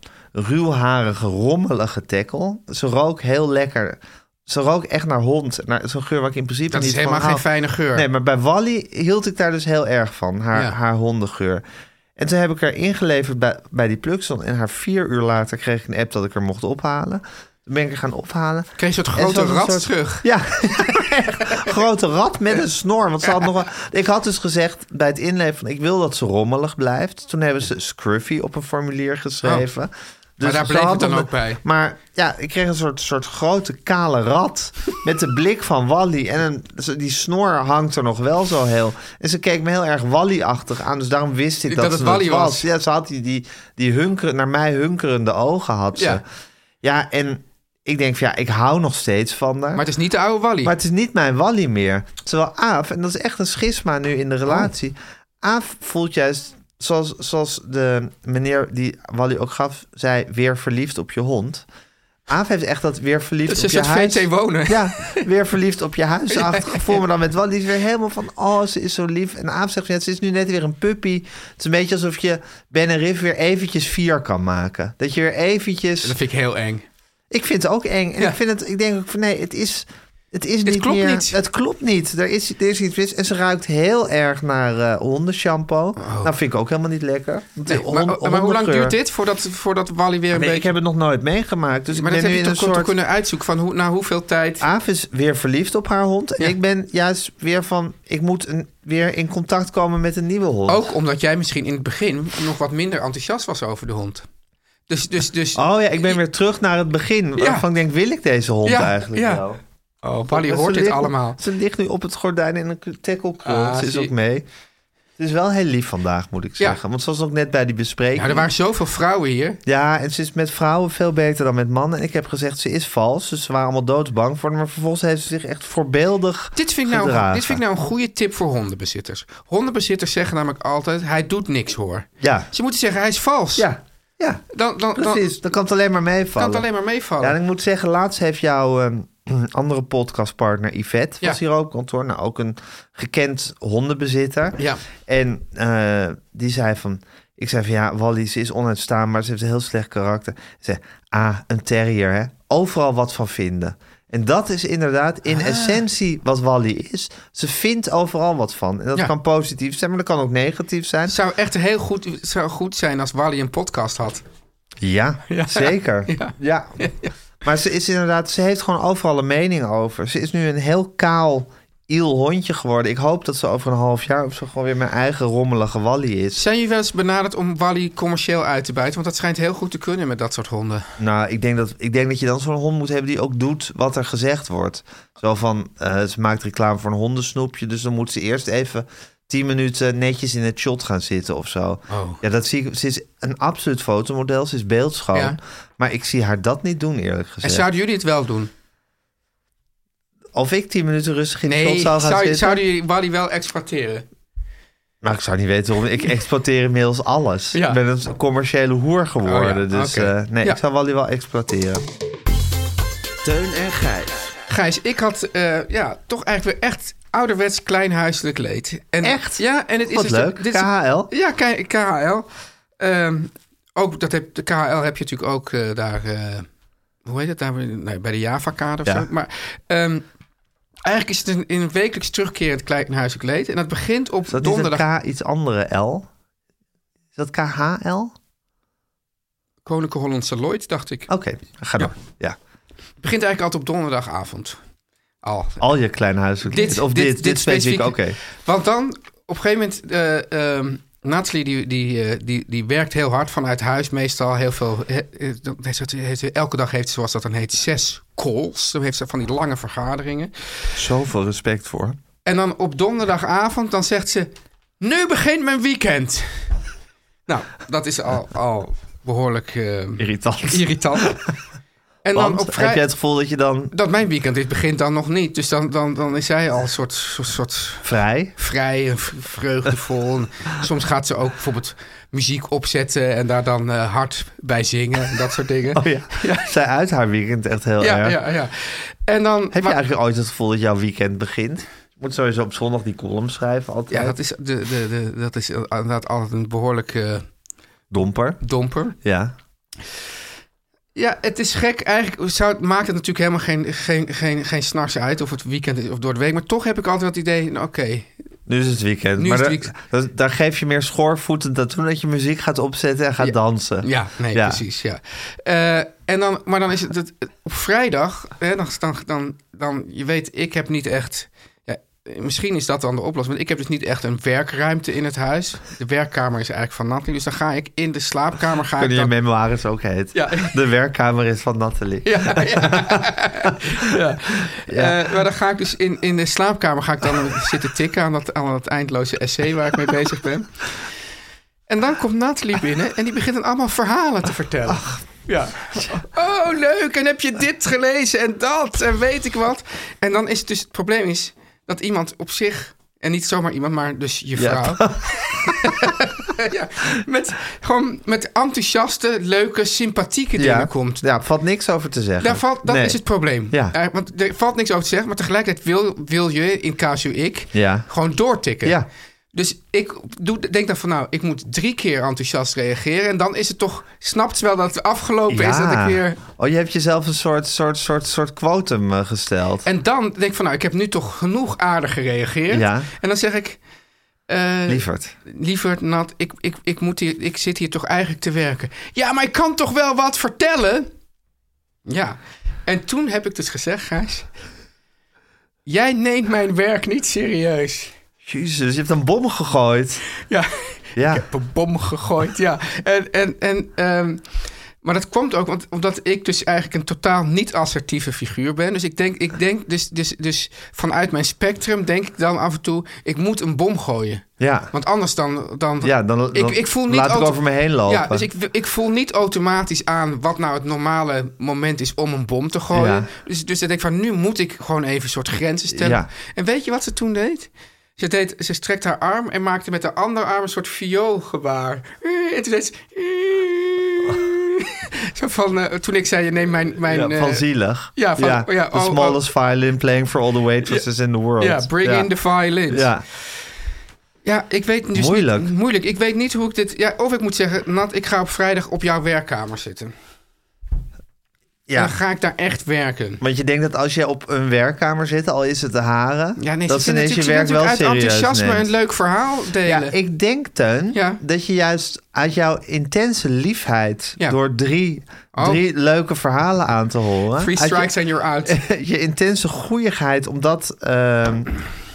ruwharige, rommelige tackle. Ze rook heel lekker. Ze rook echt naar hond, naar zo'n geur waar ik in principe Dat niet is helemaal van geen hou. fijne geur. Nee, maar bij Wally hield ik daar dus heel erg van, haar, Ja. haar hondengeur. En toen heb ik haar ingeleverd bij, bij die pluksel. En haar vier uur later kreeg ik een app dat ik haar mocht ophalen. Toen ben ik haar gaan ophalen. Kreeg je een soort En ze grote had een rat soort- terug. Ja, grote rat met een snor. Want ze had nog wel- ik had dus gezegd bij het inleveren... van, ik wil dat ze rommelig blijft. Toen hebben ze Scruffy op een formulier geschreven. Dus Oh. daar ze bleef had het dan nog- ook bij. Maar ja, ik kreeg een soort, soort grote kale rat... met de blik van Wally. En een, ze- die snor hangt er nog wel zo heel. En ze keek me heel erg Wally-achtig aan. Dus daarom wist ik Dat dat, het ze Wally was. Ja, ze had die, die, die hunkeren, naar mij hunkerende ogen had ze. Ja. Ja, en... Ik denk van ja, ik hou nog steeds van haar. Maar het is niet de oude Wally. Maar het is niet mijn Wally meer. Terwijl Aaf, en dat is echt een schisma nu in de relatie. Oh. Aaf voelt juist, zoals, zoals de meneer die Wally ook gaf, zei, weer verliefd op je hond. Aaf heeft echt dat weer verliefd Dat is op een je soort huis. VT wonen. Ja, weer verliefd op je huis. Aaf het gevoel me dan met Wally is weer helemaal van, oh, ze is zo lief. En Aaf zegt, ja, ze is nu net weer een puppy. Het is een beetje alsof je Ben en Riff weer eventjes vier kan maken. Dat je weer eventjes... Dat vind ik heel eng. Ik vind het ook eng. En Ja. ik, vind het, ik denk ook van nee, het is, het is niet klopt meer... niet. Het klopt niet. Er is, er is iets mis. En ze ruikt heel erg naar eh hondenshampoo. Nou, vind ik ook helemaal niet lekker. Want Oh. Nee, die maar, hond- maar hoe lang hondengeur- duurt dit voordat, voordat Wally weer een Nee, ik beetje... heb het nog nooit meegemaakt. Dus ik maar dat ben nu heb je in toch een soort... kunnen uitzoeken van hoe, na hoeveel tijd... Aaf is weer verliefd op haar hond. En Ja. ik ben juist weer van... Ik moet een, weer in contact komen met een nieuwe hond. Ook omdat jij misschien in het begin nog wat minder enthousiast was over de hond. Dus, dus, dus... Oh ja, ik ben weer terug naar het begin. Waarvan ik denk, wil ik deze hond Ja, eigenlijk ja. wel? Oh, Wally Maar ze hoort dit ligt- allemaal. Ze ligt nu op het gordijn in een tackle curl. Ah, ze is zie- ook mee. Het is wel heel lief vandaag, moet ik Ja. zeggen. Want ze was ook net bij die bespreking. Ja, Nou, er waren zoveel vrouwen hier. Ja, en ze is met vrouwen veel beter dan met mannen. En ik heb gezegd, ze is vals. Dus ze waren allemaal doodsbang voor haar. Maar vervolgens heeft ze zich echt voorbeeldig Dit vind, ik nou, gedragen. dit vind ik nou een goede tip voor hondenbezitters. Hondenbezitters zeggen namelijk altijd: hij doet niks hoor. Ja, Ze moeten zeggen: hij is vals. ja, ja. nou- Dan, dan, dan Precies, dan kan het alleen maar kan meevallen. het alleen maar meevallen. Ja, en ik moet zeggen, laatst heeft jouw ehm, andere podcastpartner Yvette... was Ja. hier ook op kantoor. Nou, ook een gekend hondenbezitter. Ja. En eh, die zei van... Ik zei van ja, Wally, ze is onuitstaanbaar. Ze heeft een heel slecht karakter. Ze zei, ah, een terrier, hè. Overal wat van vinden. En dat is inderdaad in Ah. essentie wat Wally is. Ze vindt overal wat van. En dat Ja. kan positief zijn, maar dat kan ook negatief zijn. Het zou echt heel goed, het zou goed zijn als Wally een podcast had. Ja, zeker. Ja. Maar ze is inderdaad, ze heeft gewoon overal een mening over. Ze is nu een heel kaal, iel hondje geworden. Ik hoop dat ze over een half jaar of zo gewoon weer mijn eigen rommelige Wally is. Zijn jullie wel eens benaderd om Wally commercieel uit te buiten? Want dat schijnt heel goed te kunnen met dat soort honden. Nou, ik denk dat, ik denk dat je dan zo'n hond moet hebben die ook doet wat er gezegd wordt. Zo van, eh, ze maakt reclame voor een hondensnoepje, dus dan moet ze eerst even tien minuten netjes in het shot gaan zitten of zo. Oh. Ja, dat zie ik. Ze is een absoluut fotomodel. Ze is beeldschoon. Ja. Maar ik zie haar dat niet doen, eerlijk gezegd. En zouden jullie het wel doen? Of ik tien minuten rustig in het shot Nee, zou gaan zou, zitten. zouden jullie Wally wel exploiteren? Maar ik zou niet weten waarom. Ik exploiteer inmiddels alles. Ja. Ik ben een commerciële hoer geworden. Oh ja, Dus oké. eh, nee, Ja. ik zou Wally wel exploiteren. Teun en Gijs. Gijs, ik had eh, ja, toch eigenlijk weer echt ouderwets klein huiselijk leed. En, Echt? Ja, en het is... Wat dus- leuk. dit is- KHL. Ja, K- KHL. Ehm, ook, dat heb, de KHL heb je natuurlijk ook eh, daar... eh, hoe heet het daar? Nee, bij de Java-kade of Ja. zo. Maar ehm, eigenlijk is het een, een wekelijks terugkerend klein huiselijk leed. En dat begint op Is dat niet donderdag... een K iets andere L? Is dat KHL? Oké, Koninklijke Hollandse Lloyd, dacht Oh. ik. ga door. Ja. Het begint eigenlijk altijd op donderdagavond. Al. Al je kleine huiselijke... Dit- of dit- dit, dit dit, specifiek, oké. specifieke- Want dan, op een gegeven moment, eh ehm, Nathalie, die, die, eh, die, die werkt heel hard vanuit huis meestal. Heel veel, eh, eh, dan heeft ze- heeft ze- elke dag heeft ze, zoals dat dan heet, zes calls. Dan heeft ze van die lange vergaderingen. Zoveel respect voor. En dan op donderdagavond, dan zegt ze, nu begint mijn weekend. Nou, dat is al, al behoorlijk eh, Irritant. irritant. En Want vrij- heb jij het gevoel dat je dan Dat mijn weekend dit begint dan nog niet. Dus dan, dan, dan is zij al een soort, soort, soort vrij... vrij en v- vreugdevol. En soms gaat ze ook bijvoorbeeld muziek opzetten en daar dan eh, hard bij zingen. en Dat soort dingen. Oh ja. Zij uit haar weekend echt heel ja, erg. ja, ja. En dan, Heb maar- je eigenlijk ooit het gevoel dat jouw weekend begint? Je moet sowieso op zondag die column schrijven. Altijd. ja, dat is, de, de, de, dat is inderdaad altijd een behoorlijke Domper. domper. Ja. Ja, het is gek. Eigenlijk zou, maakt het natuurlijk helemaal geen, geen, geen, geen s'nachts uit of het weekend is of door de week. Maar toch heb ik altijd wel het idee, nou, oké, Nu is het weekend. Nu maar is het daar- dat- daar geef je meer schoorvoetend dan toen dat je muziek gaat opzetten en gaat Ja. dansen. Ja, nee, Ja. precies. Ja. Eh, en dan, maar dan is het, het- het- op vrijdag, hè, dan, dan, dan, dan, je weet, ik heb niet echt. Ja, misschien is dat dan de oplossing. Want ik heb dus niet echt een werkruimte in het huis. De werkkamer is eigenlijk van Nathalie. Dus dan ga ik in de slaapkamer. Ga ik Kunnen je dan, memoires ook heet. Ja. De werkkamer is van Nathalie. ja, ja. ja. Eh, maar dan ga ik dus in, in de slaapkamer ga ik dan zitten tikken aan dat, aan dat eindloze essay waar ik mee bezig ben. En dan komt Nathalie binnen en die begint dan allemaal verhalen te vertellen. Ja. Oh, leuk. En heb je dit gelezen en dat en weet ik wat. En dan is het dus, het probleem is dat iemand op zich, en niet zomaar iemand, maar dus je vrouw. ja, met, gewoon met enthousiaste, leuke, sympathieke dingen ja. komt. Ja, valt niks over te zeggen. Daar valt, dat Nee. is het probleem. Ja. Eh, want er valt niks over te zeggen, maar tegelijkertijd wil, wil je, in casu ik, Ja. gewoon doortikken. Ja. Dus ik doe, denk dan van nou, ik moet drie keer enthousiast reageren. En dan is het toch, snapt ze wel dat het afgelopen is. Dat ik weer, Oh, je hebt jezelf een soort, soort, soort, soort quotum eh, gesteld. en dan denk ik van nou, ik heb nu toch genoeg aardig gereageerd. Ja. En dan zeg ik, eh, Lieverd. liever Nat, ik, ik, ik, moet hier, ik zit hier toch eigenlijk te werken. Ja, maar ik kan toch wel wat vertellen? Ja. En toen heb ik dus gezegd, Gijs... Jij neemt mijn werk niet serieus. Jezus, je hebt een bom gegooid. Ja, Ja. ik heb een bom gegooid, ja. En, en, en, ehm, maar dat komt ook want, omdat ik dus eigenlijk een totaal niet-assertieve figuur ben. Dus ik denk, ik denk dus, dus, dus vanuit mijn spectrum denk ik dan af en toe... ik moet een bom gooien. Ja. Want anders dan... dan Ja, dan, dan laat ik auto- over me heen lopen. Ja, dus ik, ik voel niet automatisch aan wat nou het normale moment is om een bom te gooien. Ja. Dus, dus dan denk ik van, nu moet ik gewoon even een soort grenzen stellen. Ja. En weet je wat ze toen deed? Ze, deed, ze strekt haar arm en maakte met haar andere arm een soort vioolgebaar. Eh, En toen deed ze... eh. Zo van, eh, toen ik zei, neem mijn... mijn Ja, van eh, zielig. ja, van- ja, the oh, oh. smallest violin playing for all the waitresses in the world. ja, bring Ja. in the violins. Ja, Ja, ik weet dus Moeilijk. Niet, moeilijk. Ik weet niet hoe ik dit... Ja, of ik moet zeggen, Nat, ik ga op vrijdag op jouw werkkamer zitten. En ja. dan ga ik daar echt werken. Want je denkt dat als je op een werkkamer zit, al is het de haren, Ja, nee, dat ze ze kunnen ineens je natuurlijk, ze werk kunnen wel natuurlijk uit serieus enthousiasme neemt. een leuk verhaal Ja, delen. ik denk, Teun, Ja. dat je juist uit jouw intense liefheid... Ja. door drie, Oh. drie leuke verhalen aan te horen... Three uit je- strikes and you're out. je intense goeieigheid om dat ehm,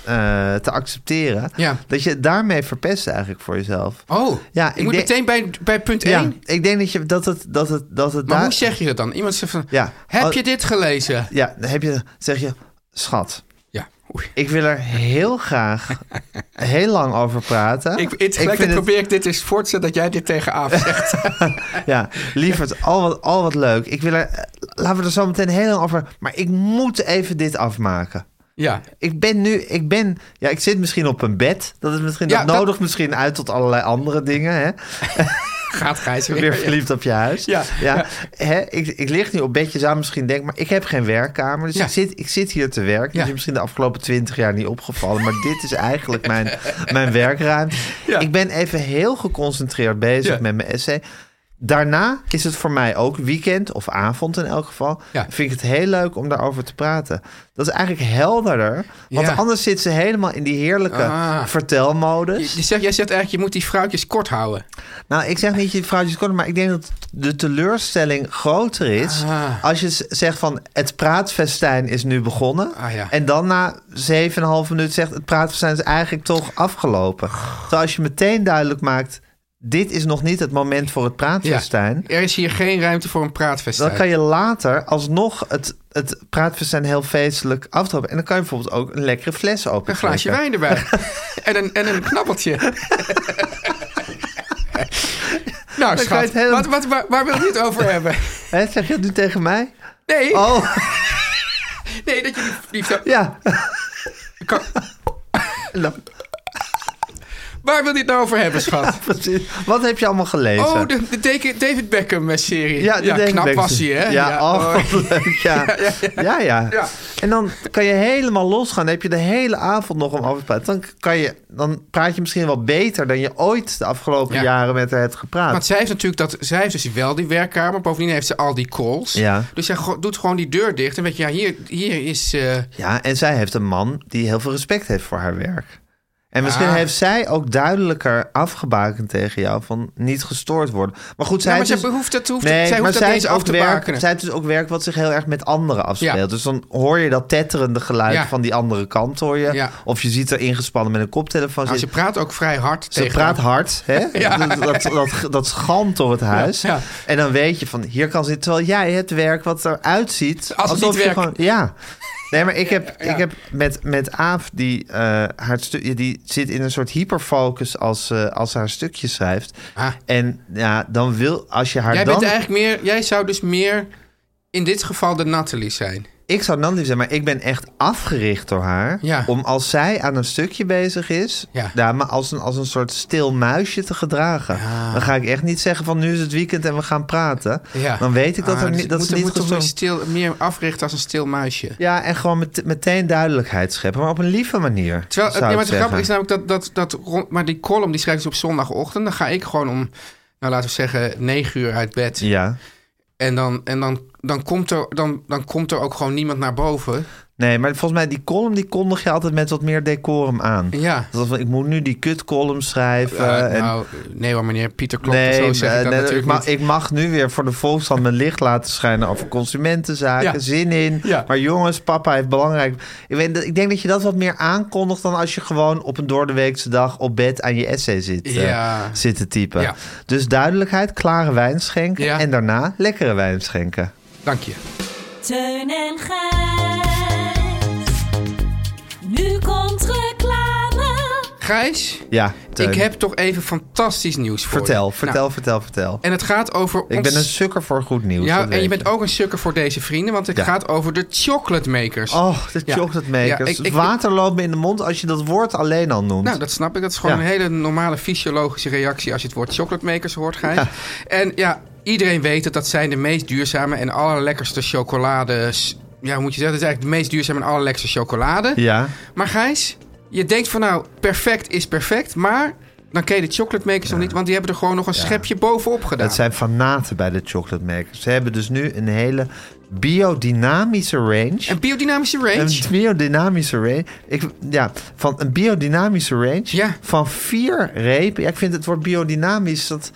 eh, te accepteren... Ja. dat je het daarmee verpest eigenlijk voor jezelf. Oh, Ja, ik ik moet denk- meteen bij, bij punt 1. Ja, ik denk dat, je, dat het... Dat het, dat het Maar daar- hoe zeg je dat dan? Iemand zegt van, Ja. heb Oh. je dit gelezen? Ja, dan heb je, zeg je, schat, Ja, Ik wil er heel graag heel lang over praten. Ik, tegelijkertijd vind het- probeer ik dit eens voort te zetten dat jij dit tegen Aaf zegt. Ja, lieverd, al wat, al wat leuk. Ik wil er, eh, laten we er zo meteen heel lang over. Maar ik moet even dit afmaken. ja, Ik ben nu, ik ben, ja, ik zit misschien op een bed. Dat is misschien, Ja, dat dat- nodigt misschien uit tot allerlei andere dingen. Hè? gaat Gijs weer. Weer verliefd op je huis. Ja, ja. Hè? Ik, ik lig nu op bedje, zou misschien denken, maar ik heb geen werkkamer. Dus Ja. ik, zit, ik zit hier te werken. Dat Ja. is je misschien de afgelopen twintig jaar niet opgevallen. Maar dit is eigenlijk mijn, mijn werkruimte. Ja. Ik ben even heel geconcentreerd bezig Ja. met mijn essay. Daarna is het voor mij ook weekend of avond in elk geval. Ja. Vind ik het heel leuk om daarover te praten. Dat is eigenlijk helderder. Want Ja. anders zit ze helemaal in die heerlijke Ah. vertelmodus. Je, je zegt, jij zegt eigenlijk, je moet die vrouwtjes kort houden. Nou, ik zeg niet je vrouwtjes kort, maar ik denk dat de teleurstelling groter is. Ah. Als je z- zegt van het praatfestijn is nu begonnen. Ah, ja. En dan na 7,5 minuut zegt het praatfestijn is eigenlijk toch afgelopen. Terwijl als je meteen duidelijk maakt, dit is nog niet het moment voor het praatfestijn. Er is hier geen ruimte voor een Dan praatfestijn. kan je later alsnog het, het praatfestijn heel feestelijk aftrappen. En dan kan je bijvoorbeeld ook een lekkere fles open. Een glaasje wijn erbij. en, een, en een knabbeltje. nou, je schat, het heel- wat, wat, waar, waar wil je het over hebben? Hè, zeg je het nu tegen mij? Nee, Oh, nee dat je die verliefd ja. kan. Nou, Waar wil je het nou over hebben, schat? precies. Wat heb je allemaal gelezen? Oh, de, de Deke- David Beckham-serie. Ja, dat denk knap ik. was hij, hè? Ja, oh, oh. wat leuk, ja. Ja, ja, Ja. En dan kan je helemaal losgaan. Dan heb je de hele avond nog om over te praten. Dan, kan je, dan praat je misschien wel beter dan je ooit de afgelopen Ja. jaren met haar hebt gepraat. Want zij heeft natuurlijk dat, zij heeft dus wel die werkkamer. Bovendien heeft ze al die calls. Ja. Dus zij go- doet gewoon die deur dicht. En weet je, ja, hier, hier is. eh, Ja, en zij heeft een man die heel veel respect heeft voor haar werk. En misschien Ah. heeft zij ook duidelijker afgebakend tegen jou van niet gestoord worden. Maar goed, zij Ja, maar heeft dus- zij behoeft dat- hoeft- nee, zij hoeft maar dat zij niet heeft af ook te werk, bakenen. Zij heeft dus ook werk wat zich heel erg met anderen afspeelt. Ja. Dus dan hoor je dat tetterende geluid Ja. van die andere kant hoor je. Ja. Of je ziet er ingespannen met een koptelefoon nou, ze zitten. praat ook vrij hard Ze tegen praat hard, hè? Dat, dat, dat, dat schalt door het huis. ja. En dan weet je van, hier kan ze... Terwijl jij het werk wat eruit ziet... Als het niet je werkt. gewoon- Ja. Nee, maar ik heb, ik heb met, met Aaf, die, eh, haar stu- die zit in een soort hyperfocus als, eh, als ze haar stukje schrijft. Ah. En ja, dan wil, als je haar Jij dan... bent eigenlijk meer. Jij zou dus meer in dit geval de Nathalie zijn. Ik zou dan lief zijn, maar ik ben echt afgericht door haar. Ja. Om als zij aan een stukje bezig is, Ja. daar me als een, als een soort stil muisje te gedragen. Dan ga ik echt niet zeggen van nu is het weekend en we gaan praten. Ja. Dan weet ik dat, Ah, er dus niet, het dat moet, ze niet moet toch meer, gestoord- stil, meer africhten als een stil muisje. Ja, en gewoon met, meteen duidelijkheid scheppen, maar op een lieve manier. Terwijl, zou nee, maar ik het grappige is zeggen. namelijk dat, dat, dat rond- maar die column die schrijft ze op zondagochtend. Dan ga ik gewoon om, nou laten we zeggen, negen uur uit bed. Ja. En, dan, en dan, dan, komt er, dan, dan komt er ook gewoon niemand naar boven. Nee, maar volgens mij die column die kondig je altijd met wat meer decorum aan. Ja. Dat van, ik moet nu die kutcolumn schrijven. Eh, en nou, nee hoor, meneer Pieter Klok, zo zeg ik eh, dat nee, natuurlijk ik, mag, ik niet. mag nu weer voor de Volkskrant mijn licht laten schijnen over consumentenzaken. Ja. Zin in. Ja. Maar jongens, papa heeft belangrijk. Ik, weet, dat- ik denk dat je dat wat meer aankondigt dan als je gewoon op een doordeweekse dag op bed aan je essay zit, eh, Ja. zit te typen. Ja. Dus duidelijkheid, klare wijn schenken Ja. en daarna lekkere wijn schenken. Dank je. Teun en Gijs. Nu komt reclame. Gijs, Ja, Teun. ik heb toch even fantastisch nieuws voor Vertel, je. vertel, Nou, vertel, vertel. en het gaat over... ik ons- ben een sukker voor goed nieuws. Ja, dat en weet je bent ook een sukker voor deze vrienden, want het Ja. gaat over de chocolate makers. Oh, de Ja. chocolate Ja, makers. ik- ik- Water loopt me in de mond als je dat woord alleen al noemt. Nou, dat snap ik. Dat is gewoon Ja. een hele normale fysiologische reactie als je het woord chocolate makers hoort, Gijs. En ja, iedereen weet het. Dat zijn de meest duurzame en allerlekkerste chocolades. Ja, hoe moet je zeggen? Dat is eigenlijk de meest duurzame en allerlekkerste chocolade. Ja. Maar Gijs, je denkt van nou, perfect is perfect, maar... Dan ken je de chocolate makers nog niet, want die hebben er gewoon nog een schepje bovenop gedaan. Dat zijn fanaten bij de chocolate makers. Ze hebben dus nu een hele biodynamische range. Een biodynamische range. Een biodynamische range. Ik, ja, van een biodynamische range Ja. van vier repen. Ja, ik vind het woord biodynamisch, dat,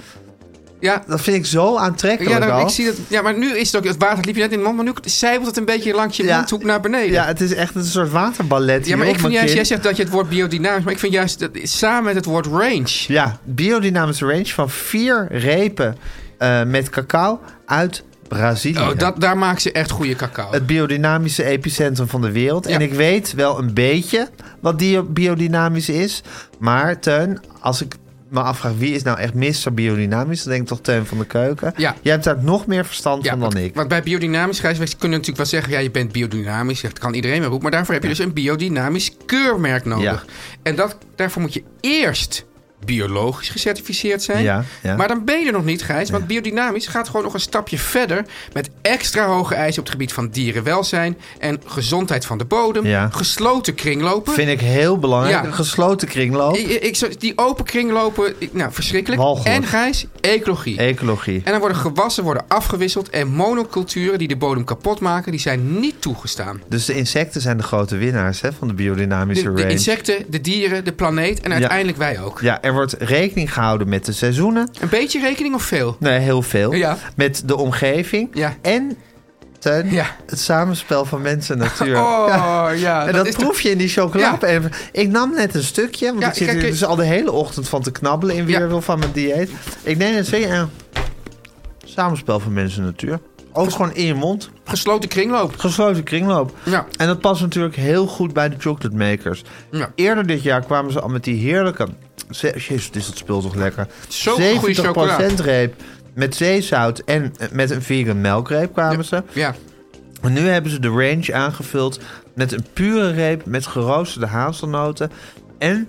ja, dat vind ik zo aantrekkelijk ja, dan- al. ik zie dat, ja, maar nu is het ook... Het water liep je net in de mond, maar nu zijpelt het een beetje langs je Ja. mondhoek naar beneden. Ja, het is echt een soort waterballet Ja, hier maar op ik vind mijn juist, jij kin. zegt dat je het woord biodynamisch, maar ik vind juist dat, samen met het woord range. Ja, biodynamische range van vier repen eh, met cacao uit Brazilië. Oh, dat, daar maken ze echt goede cacao. het biodynamische epicentrum van de wereld. Ja. En ik weet wel een beetje wat die biodynamisch is. Maar Teun, als ik me afvraag wie is nou echt Mr. Biodynamisch, dan denk ik toch Teun van de Keuken. Ja. Jij hebt daar nog meer verstand Ja, van dan want, ik. want bij biodynamisch reiswerk kunnen natuurlijk wel zeggen... ja, je bent biodynamisch, dat kan iedereen maar roepen... maar daarvoor heb je dus een biodynamisch keurmerk nodig. Ja. En dat, daarvoor moet je eerst biologisch gecertificeerd zijn. Ja, ja. Maar dan ben je er nog niet, Gijs. Want biodynamisch gaat gewoon nog een stapje verder... met extra hoge eisen op het gebied van dierenwelzijn... en gezondheid van de bodem, Ja. gesloten kringlopen... Vind ik heel belangrijk. Ja. Een gesloten kringloop. Ik- ik zou- die open kringlopen, ik- nou, verschrikkelijk. Walgelijk. En Gijs, ecologie. Ecologie. En dan worden gewassen worden afgewisseld en monoculturen die de bodem kapot maken, die zijn niet toegestaan. Dus de insecten zijn de grote winnaars hè, van de De, biodynamische de range. insecten, de dieren, de planeet en uiteindelijk wij ook. Ja, er wordt rekening gehouden met de seizoenen. Een beetje rekening of veel? Nee, heel veel. Ja. Met de omgeving. Ja. En Teun, Ja. het samenspel van mens en natuur. Oh, ja. En dat, is proef je in die chocola. Ja. En Ik nam net een stukje, want Ja, ik zit kijk, hier ik- dus al de hele ochtend van te knabbelen in weerwil van mijn dieet. Ik neem een stukje en samenspel van mensen en natuur. Ook gewoon in je mond. toch gesloten kringloop. Gesloten kringloop. Ja. En dat past natuurlijk heel goed bij de chocolate makers. Ja. Eerder dit jaar kwamen ze al met die heerlijke... ze- Jezus, dit is dat spul toch lekker. Zo'n goede 70% chocola. reep met zeezout en eh, met een vegan melkreep kwamen ze. Ja. En nu hebben ze de range aangevuld met een pure reep met geroosterde hazelnoten en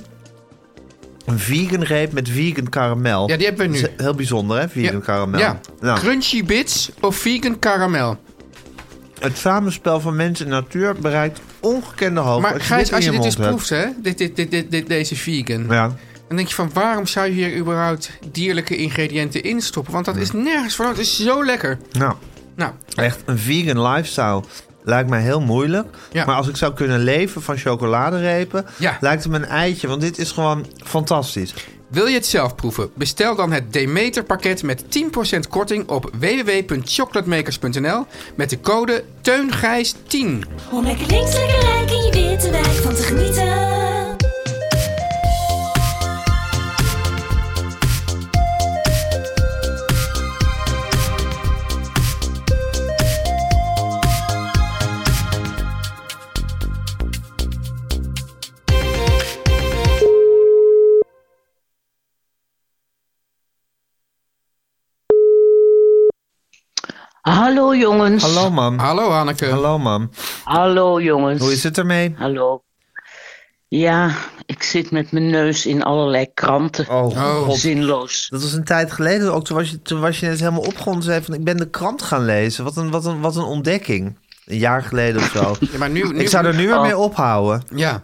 een vegan reep met vegan karamel. Ja, die hebben we nu. Dat is Heel bijzonder, hè? Vegan ja. karamel. Ja. Nou, Crunchy bits of vegan karamel. het samenspel van mens en natuur bereikt ongekende hoogte. Maar Gijs, als je in dit eens mond hebt. proeft, hè, dit, dit, dit, dit, dit- deze vegan, Ja. dan denk je van waarom zou je hier überhaupt dierlijke ingrediënten in stoppen? Want dat is nergens voor nodig. Het is zo lekker. Nou, Nou, echt een vegan lifestyle lijkt mij heel moeilijk. Ja. Maar als ik zou kunnen leven van chocoladerepen, Ja. lijkt het me een eitje. Want dit is gewoon fantastisch. Wil je het zelf proeven? Bestel dan het Demeter pakket met 10% korting op www.chocolatemakers.nl met de code TEUNGRIJS10. Om lekker links, lekker rijk in je witte wijk van te genieten. Hallo jongens. Hallo, mam. Hallo Hanneke. Hallo, mam. Hallo, jongens. Hoe is het ermee? Hallo. Ja, ik zit met mijn neus in allerlei kranten. Oh, god. Zinloos. Dat was een tijd geleden ook. Toen was je, toen was je net helemaal opgewonden. Zei van, ik ben de krant gaan lezen. Wat een, wat een, wat een ontdekking. Een jaar geleden of zo. Ja, maar nu, nu, ik zou er Oh. nu weer mee ophouden. Ja.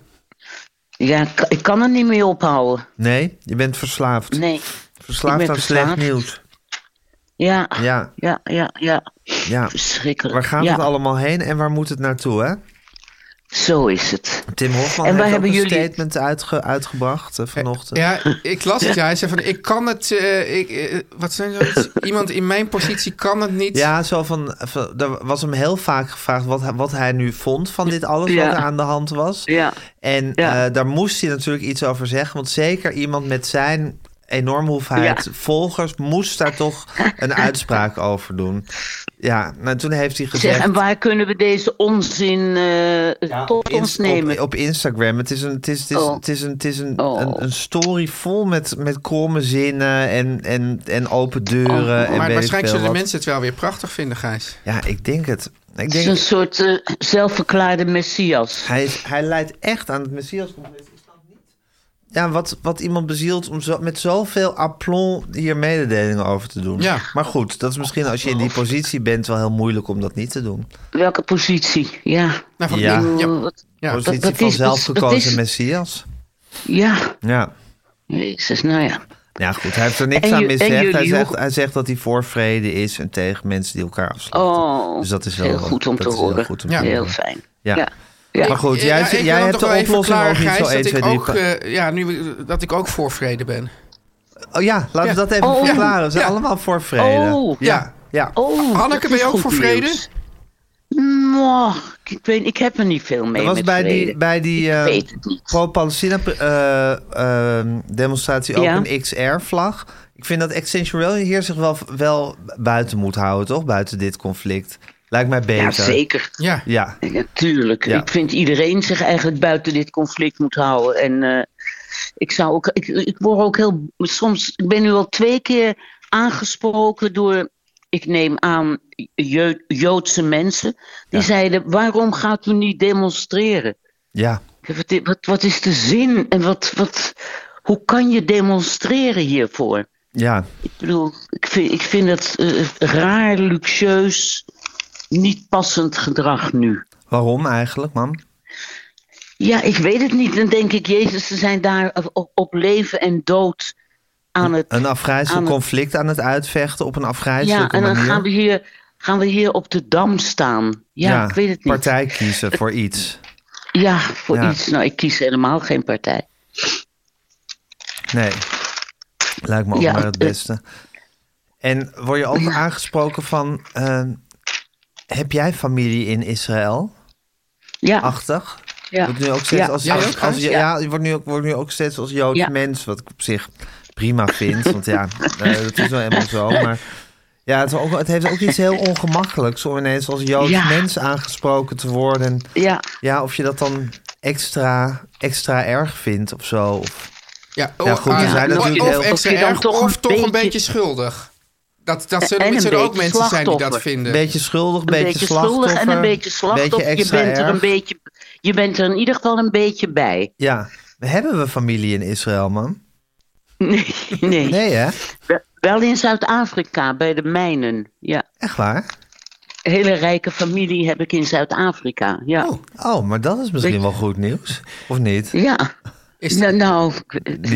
Ja, ik, ik kan er niet mee ophouden. Nee, je bent verslaafd. Nee. verslaafd ik aan ben verslaafd. slecht nieuws. Ja. Ja, Ja, ja, ja. ja. Verschrikkelijk. Waar gaat ja, het allemaal heen en waar moet het naartoe, hè? Zo is het. Tim Hofman En wij heeft ook hebben een jullie- statement uitge- uitgebracht eh, vanochtend. ja, ik las het. Ja, hij zei van ik kan het. eh, ik, eh, wat zijn zoiets? Iemand in mijn positie kan het niet. Ja, zo van, van- er was hem heel vaak gevraagd wat, hij- wat hij nu vond van dit alles Ja. wat er aan de hand was. Ja. En Ja. eh, daar moest hij natuurlijk iets over zeggen. Want zeker iemand met zijn enorme hoeveelheid Ja. volgers moest daar toch een uitspraak over doen. Ja, nou toen heeft hij gezegd... Zeg, en waar kunnen we deze onzin eh tot Inst- ons nemen? Op, op Instagram. Het is een, het is, het is, Oh. het is een, het is een, Oh. een, een story vol met, met kromme zinnen en, en, en open deuren. Oh. En maar weet ik waarschijnlijk veel zullen de wat. mensen het wel weer prachtig vinden, Gijs. Ja, ik denk het. Ik het is denk een soort eh, zelfverklaarde messias. Hij, is- hij leidt echt aan het messias ja, wat, wat iemand bezielt om zo, met zoveel aplomb hier mededelingen over te doen. Ja. Maar goed, dat is misschien als je in die positie bent wel heel moeilijk om dat niet te doen. Welke positie? Ja. Nou, van, Ja. Eh, ja. wat- Ja. Positie dat van is- dat is- zelfgekozen dat is- messias. ja. Ja. Jezus, nou ja. ja, goed, hij heeft er niks En aan ju- en misgezegd. Hij jullie, zegt, hoe- hij zegt dat hij voor vrede is en tegen mensen die elkaar afslachten. Oh, dus dat is wel heel goed om dat te is heel horen. goed om Ja. te Heel horen. fijn. Ja. Ja. Ja. Maar goed, jij, Ja, ik wil jij dan hebt de toch wel even oplossing ook verklaren, niet zo Gijs, 1, 2, dat 3. ik ook, eh, ja, nu dat ik ook voor vrede ben. Oh ja, laten we Ja. dat even Oh. verklaren. We zijn Ja. allemaal voor vrede. Oh. Ja, ja. Oh, Hanneke, dat ben is je ook goed voor vrede? nieuws. Mwah, ik ik, weet, ik heb er niet veel mee. Dat was met bij die, vrede. bij die Ik eh, weet het niet. pro-Palestina eh, eh, demonstratie ook Ja. een XR-vlag. Ik vind dat Extinction Rebellion hier zich wel, wel buiten moet houden, toch? Buiten dit conflict. Lijkt mij beter. Ja, zeker. Ja. Ja. Natuurlijk. Ja. Ik vind iedereen zich eigenlijk buiten dit conflict moet houden. En eh, ik zou ook. Ik, ik word ook heel. Soms. Ik ben nu al twee keer aangesproken door. Ik neem aan Jeu- Joodse mensen. Die zeiden: waarom gaat u niet demonstreren? ja. Ik heb het- Wat, wat is de zin? En wat, wat, hoe kan je demonstreren hiervoor? Ja. Ik bedoel, ik vind, ik vind dat eh, raar, luxueus, niet passend gedrag nu. Waarom eigenlijk, mam? Ja, ik weet het niet. Dan denk ik, Jezus, ze zijn daar op, op leven en dood aan het. Een aan afgrijzelijk het- conflict aan het uitvechten op een Ja, afgrijzelijke en dan manier. gaan we, hier, gaan we hier op de dam staan. Ja, ik weet het niet. Partij kiezen voor iets. Ja, voor Ja. iets. Nou, ik kies helemaal geen partij. Nee. Lijkt me ook Ja, maar het eh. beste. En word je ook aangesproken van... eh, heb jij familie in Israël? Ja, Achtig? ja. Wordt nu ook steeds Ja. als, Jij als- ook, als- Gijs? ja, Ja. je wordt nu ook, wordt nu ook steeds als Joods Ja. mens, wat ik op zich prima vind. want ja, eh, dat is wel helemaal zo. Maar ja, het, is ook, het heeft ook iets heel ongemakkelijks om ineens als Joods Ja. mens aangesproken te worden. En ja. Ja, of je dat dan extra, extra erg vindt of zo. Of, Ja, Ja, goed, er ah, zijn of- natuurlijk of heel- extra Of je dan erg, toch of een toch een beetje- beetje schuldig. Dat, dat zullen, En een zullen ook beetje mensen zijn die dat slachtoffer. een vinden. beetje schuldig, een Een beetje, beetje slachtoffer. schuldig en een beetje slachtoffer. je, extra bent er erg. een beetje, je bent er in ieder geval een beetje bij. Ja, hebben we familie in Israël, man? Nee, nee. Nee, hè? Wel- Wel in Zuid-Afrika, bij de mijnen. Ja. Echt waar? Een hele rijke familie heb ik in Zuid-Afrika. Ja. Oh, oh maar dat is misschien wel goed nieuws. Of niet? Ja. Is nou, nou, ze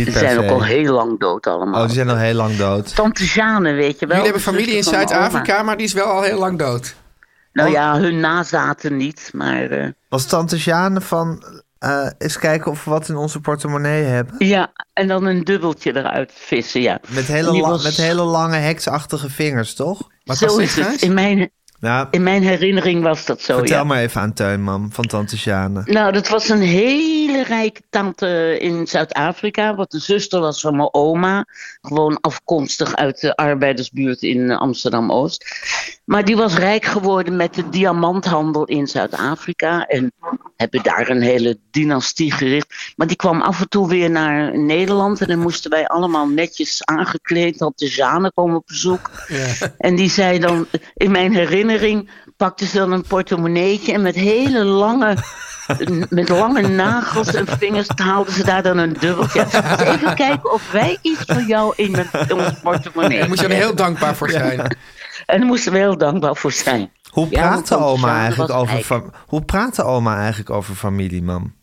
per zijn se. ook al heel lang dood allemaal. Oh, die zijn al heel lang dood. Tante Jeanne, weet je wel. Jullie hebben de familie in zuster van mijn oma. Zuid-Afrika, maar die is wel al heel lang dood. Oh. Nou ja, hun nazaten niet, maar... eh, Was tante Sjane van... eh, eens kijken of we wat in onze portemonnee hebben? ja, en dan een dubbeltje eruit vissen, ja. Met hele, Die la- was- met hele lange heksachtige vingers, toch? Wat Zo was dit, is het. Gijs? In mijn, Nou, in mijn herinnering was dat zo, vertel ja. maar even aan Teun, mam, van tante Sjane. Nou, dat was een hele rijke tante in Zuid-Afrika. Wat de zuster was van mijn oma. Gewoon afkomstig uit de arbeidersbuurt in eh, Amsterdam-Oost. Maar die was rijk geworden met de diamanthandel in Zuid-Afrika. En hebben daar een hele dynastie gericht. Maar die kwam af en toe weer naar Nederland. En dan moesten wij allemaal netjes aangekleed. Had de Zane komen op bezoek. En die zei dan, in mijn herinnering, pakte ze dan een portemonneetje en met hele lange, met lange nagels en vingers haalde ze daar dan een dubbeltje. Dus even kijken of wij iets van jou in, mijn- in ons portemonnee Daar moet je dan heel dankbaar voor zijn. En daar moesten we heel dankbaar voor zijn. Hoe Ja, want praat de tante oma Sjane eigenlijk was over rijk. fam- Hoe praat de oma eigenlijk over familie, mam?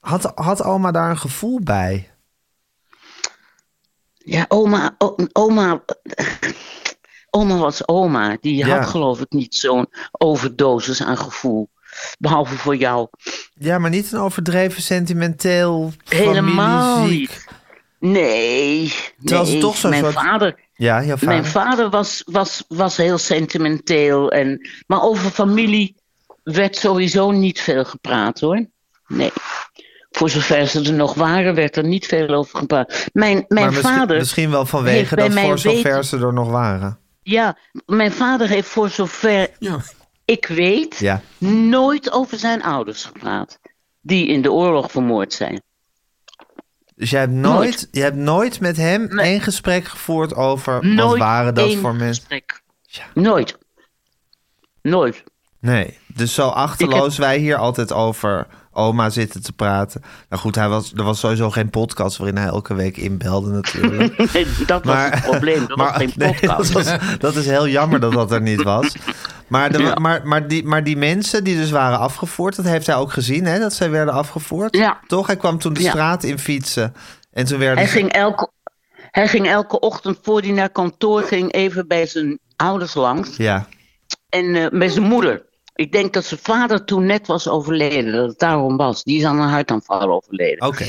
Had, had oma daar een gevoel bij? Ja, oma, o- oma, oma was oma. Die Ja. had geloof ik niet zo'n overdosis aan gevoel. Behalve voor jou. Ja, maar niet een overdreven sentimenteel Helemaal familieziek. niet. Nee. Terwijl ze nee. toch zo'n mijn soort- vader, Ja, jouw vader. Mijn vader was, was, was heel sentimenteel. En, maar over familie werd sowieso niet veel gepraat hoor. Nee. Voor zover ze er nog waren, werd er niet veel over gepraat. Mijn, mijn maar misschien, vader. misschien wel heeft vanwege bij dat mij voor zover weten- ze er nog waren. Ja, mijn vader heeft voor zover Ja. ik weet. Ja. nooit over zijn ouders gepraat. Die in de oorlog vermoord zijn. Dus jij hebt nooit, Nooit. Je hebt nooit met hem één gesprek gevoerd over wat Nooit waren dat één voor mensen? gesprek. Nooit. Nooit. Nee, dus zo achterloos wij hier altijd over oma zitten te praten. Nou goed, hij was, er was sowieso geen podcast waarin hij elke week inbelde natuurlijk. Nee, dat was het probleem. Dat was geen nee, podcast. dat, was- dat is heel jammer dat dat er niet was. Maar, de, maar, maar, die, maar die mensen die dus waren afgevoerd, dat heeft hij ook gezien, hè, dat zij werden afgevoerd. Ja. Toch? Hij kwam toen de Ja. straat in fietsen. En toen werden Hij ze- ging, elke, hij ging elke ochtend voor hij naar kantoor ging even bij zijn ouders langs. Ja, En eh, bij zijn moeder. Ik denk dat zijn vader toen net was overleden. Dat het daarom was. Die is aan een hartaanval overleden. oké.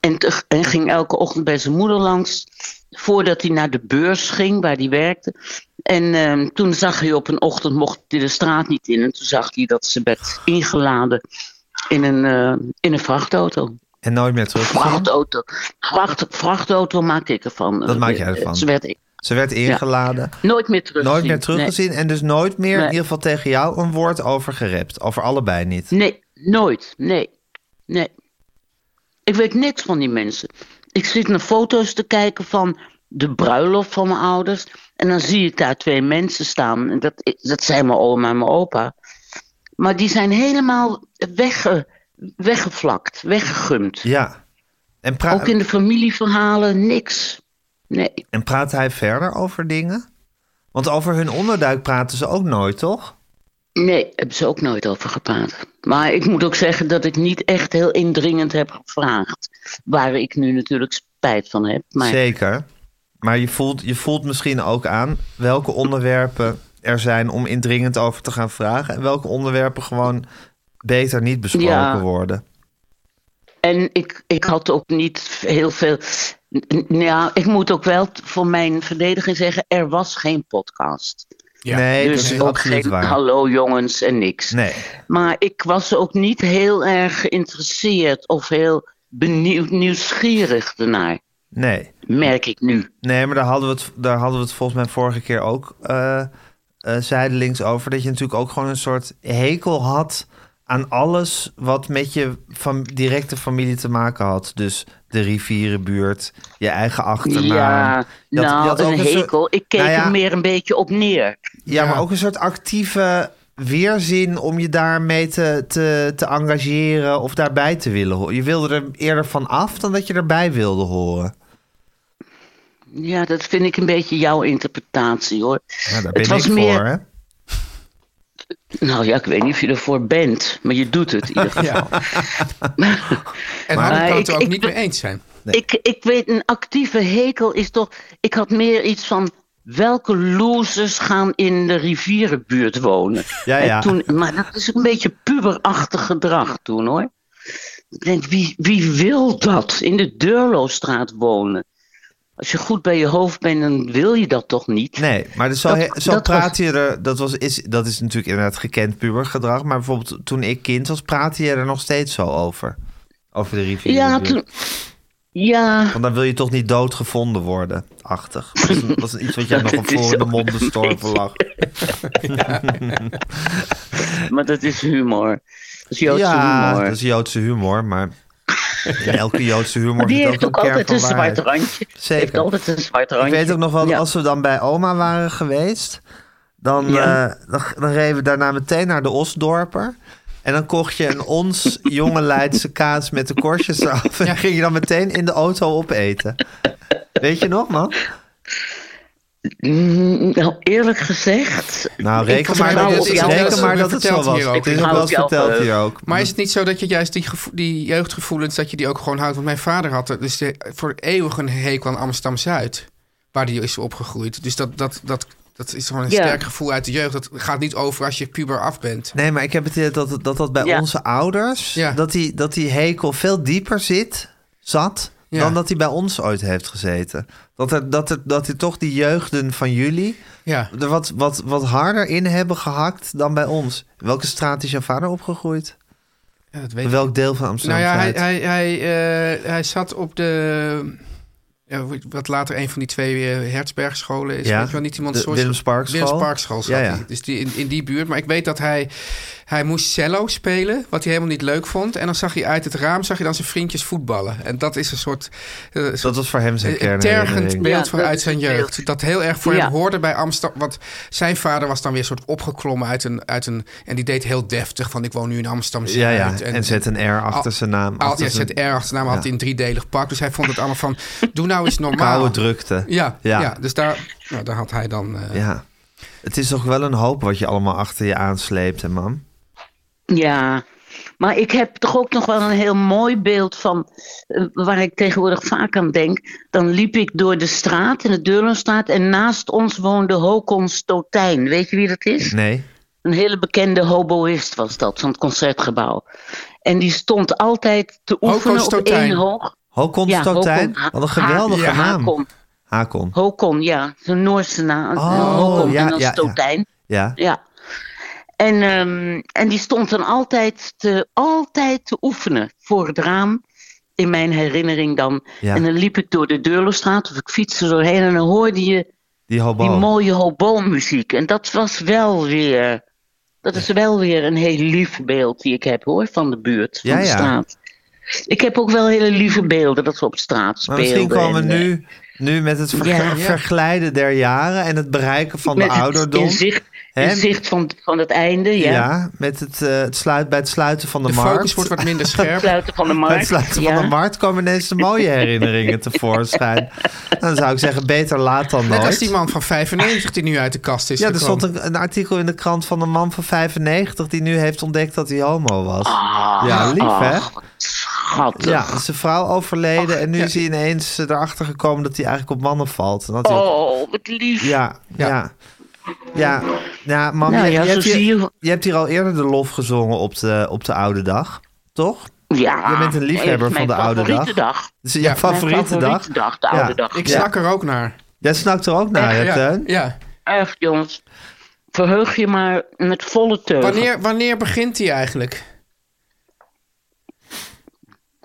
En, te- en ging elke ochtend bij zijn moeder langs. Voordat hij naar de beurs ging, waar hij werkte. En ehm, toen zag hij op een ochtend, mocht hij de straat niet in. En toen zag hij dat ze werd ingeladen in een, eh, in een vrachtauto. En nooit meer terug. Vrachtauto. Vracht, vrachtauto maak ik ervan. Dat maak jij Eh, ervan. Ze werd Ze werd ingeladen. nooit meer teruggezien. Nooit meer teruggezien en dus nooit meer Nee. in ieder geval tegen jou een woord over gerept. Over allebei niet. Nee, nooit. Nee. Nee. Ik weet niks van die mensen. Ik zit naar foto's te kijken van de bruiloft van mijn ouders. En dan zie ik daar twee mensen staan. En dat, dat zijn mijn oma en mijn opa. Maar die zijn helemaal wegge, weggevlakt, weggegumd. Ja. En, pra- Ook in de familieverhalen, niks. Nee. en praat hij verder over dingen? Want over hun onderduik praten ze ook nooit, toch? Nee, hebben ze ook nooit over gepraat. Maar ik moet ook zeggen dat ik niet echt heel indringend heb gevraagd. Waar ik nu natuurlijk spijt van heb. Maar Zeker. Maar je voelt, je voelt misschien ook aan welke onderwerpen er zijn om indringend over te gaan vragen. En welke onderwerpen gewoon beter niet besproken Ja. worden. En ik, ik had ook niet heel veel. N- n- Ja, ik moet ook wel t- voor mijn verdediging zeggen: er was geen podcast. Ja. Nee, dat is Dus ook absoluut geen waar. hallo jongens en niks. Nee. Maar ik was ook niet heel erg geïnteresseerd of heel benieuwd, nieuwsgierig ernaar, Nee. merk ik nu. Nee, maar daar hadden we het, daar hadden we het volgens mij vorige keer ook eh eh, zijdelings over. Dat je natuurlijk ook gewoon een soort hekel had aan alles wat met je fam- directe familie te maken had. Dus de rivierenbuurt, je eigen achternaam. ja, Je had- je nou, had ook een soort- hekel. Ik keek Nou ja, er meer een beetje op neer. Ja, maar ook een soort actieve weerzin om je daarmee te, te, te engageren of daarbij te willen horen. Je wilde er eerder van af dan dat je erbij wilde horen. Ja, dat vind ik een beetje jouw interpretatie hoor. Ja, Nou, daar Het ben was ik meer- voor, hè? Nou ja, ik weet niet of je ervoor bent, maar je doet het in ieder geval. Ja. en maar, Maar kan ik- het er ook ik- niet mee eens zijn. Ik, ik weet, een actieve hekel is toch. Ik had meer iets van. Welke losers gaan in de rivierenbuurt wonen? Ja, En ja. Toen, maar dat is een beetje puberachtig gedrag toen hoor. Ik denk, wie, wie wil dat? In de Deurloostraat wonen. Als je goed bij je hoofd bent, dan wil je dat toch niet? Nee, maar dus zo, Dat- he- zo dat was- praat je er. Dat, was, is, dat is natuurlijk inderdaad gekend pubergedrag. Maar bijvoorbeeld toen ik kind was, praatte je er nog steeds zo over. Over de rivier. ja, toen, ja, Want dan wil je toch niet doodgevonden worden, achtig. Dat is- dat is iets wat jij nog een Dat is voor in de ook mond een bestorven beetje- lag. maar dat is humor. Dat is Joodse ja, humor. dat is Joodse humor, maar in elke Joodse humor Die zit heeft ook ook een kern altijd van een zwart waarheid. randje. Die Heeft Zeker. altijd een zwart Ik randje. weet ook nog wel, Ja. als we dan bij oma waren geweest, dan, Ja. eh, dan, dan reden we daarna meteen naar de Osdorper. En dan kocht je een ons jonge Leidse kaas met de korstjes eraf. En ging je dan meteen in de auto opeten. Weet je nog, man? Mm, Nou, eerlijk gezegd. Nou, reken vertrouw maar dat, op het- jou. reken maar dat het zo Verteld was. hier ook. Het is Ik ook wel eens hou op jou verteld hier ook. Maar is het niet zo dat je juist die, gevo- die jeugdgevoelens, dat je die ook gewoon houdt? Want mijn vader had er dus de- voor eeuwig een hekel aan Amsterdam-Zuid, waar die is opgegroeid. Dus dat, dat, dat, dat is gewoon een Ja. sterk gevoel uit de jeugd. Dat gaat niet over als je puber af bent. Nee, maar ik heb het idee dat dat, dat bij Ja. onze ouders... Ja. Dat, die, dat die hekel veel dieper zit, zat... Ja. dan dat hij bij ons ooit heeft gezeten. Dat er, dat er, dat er toch die jeugden van jullie... Ja. er wat, wat, wat harder in hebben gehakt dan bij ons. Welke straat is jouw vader opgegroeid? ja, dat weet ik. Welk deel van Amsterdam? Nou ja, hij, Zuid? hij, hij, eh, hij zat op de. ja, wat later een van die twee eh, Hertzbergscholen is. Ja, Weet je wel, niet iemand de Willemsparkschool. Willemsparkschool zat Ja, ja. hij. Dus die, in, in die buurt. Maar ik weet dat hij. Hij moest cello spelen, wat hij helemaal niet leuk vond. En dan zag hij uit het raam zag je dan zijn vriendjes voetballen. En dat is een soort. eh, soort- Dat was voor hem zijn een- een tergend kernherinnering. beeld Ja, van dat uit is zijn het beeld. jeugd. Dat heel erg voor Ja. hem hoorde bij Amsterdam. Want zijn vader was dan weer soort opgeklommen uit een, uit een... En die deed heel deftig van ik woon nu in Amsterdam. Ja, ja. Zuid. Ah, En zet een R achter Al- zijn naam. al, achter ja, zijn zet R achternaam nou, had hij een driedelig pak. Dus hij vond het allemaal van, doe nou eens normaal. koude drukte. Ja, ja. Ja. dus daar, nou, daar had hij dan... eh, Ja. Het is toch wel een hoop wat je allemaal achter je aansleept, hè, mam? Ja. Maar ik heb toch ook nog wel een heel mooi beeld van. eh, waar ik tegenwoordig vaak aan denk. Dan liep ik door de straat, in de Deurlenstraat. en naast ons woonde Håkon Stotijn. Weet je wie dat is? Nee. Een hele bekende hoboïst was dat, van het concertgebouw. En die stond altijd te oefenen op Stotijn. één hoog. Hokon Ja, Stoktijn? Hokon. Wat een geweldige Ja, naam. Hakon. Hakon. Hokon, ja. Zo'n Noorse naam. Oh, Hokon ja, en dan ja, ja. Stotijn. Ja. Ja. En, ehm, en die stond dan altijd te, altijd te oefenen voor het raam. In mijn herinnering dan. Ja. En dan liep ik door de Deurlostraat of ik fietste doorheen en dan hoorde je Die hobo. die mooie hobo-muziek. En dat was wel weer. Dat is wel weer een heel lief beeld die ik heb hoor, van de buurt, van Ja, de ja. straat. Ik heb ook wel hele lieve beelden dat we op straat maar spelen. misschien komen we en, eh, nu, nu met het ver- Ja. verglijden der jaren en het bereiken van de met het ouderdom. In zicht, in Hè? zicht van, van het einde, ja. ja. met het, eh, het sluit, bij het sluiten van de, De markt. focus wordt wat minder scherp. Sluiten van de Bij het markt. sluiten ja. van de markt komen ineens de mooie herinneringen tevoorschijn. Dan zou ik zeggen, beter laat dan Net als nooit. die man van 95 die nu uit de kast is Ja, er gekomen. stond een, een artikel in de krant van een man van 95 die nu heeft ontdekt dat hij homo was. Ah. ja, lief hè? Ach, wat schattig. Ja, zijn vrouw overleden en nu is hij ineens eh, erachter gekomen dat hij eigenlijk op mannen valt. En dat hij- Oh, wat lief. Ja, ja. Ja, ja, mam, Nou je, ja, je zo hebt hier, zie je- je hebt hier al eerder de lof gezongen op de, op de oude dag, toch? Ja, Je bent een liefhebber echt van de mijn oude favoriete dag. dag. Dus je Ja. favoriete, Mijn favoriete dag, de oude Ja. dag. Ik Ja. snak er ook naar. Jij snakt er ook naar, hè, Ja, Teun? ja. Echt, jongens. Verheug je maar met volle teugen. Wanneer, wanneer begint hij eigenlijk?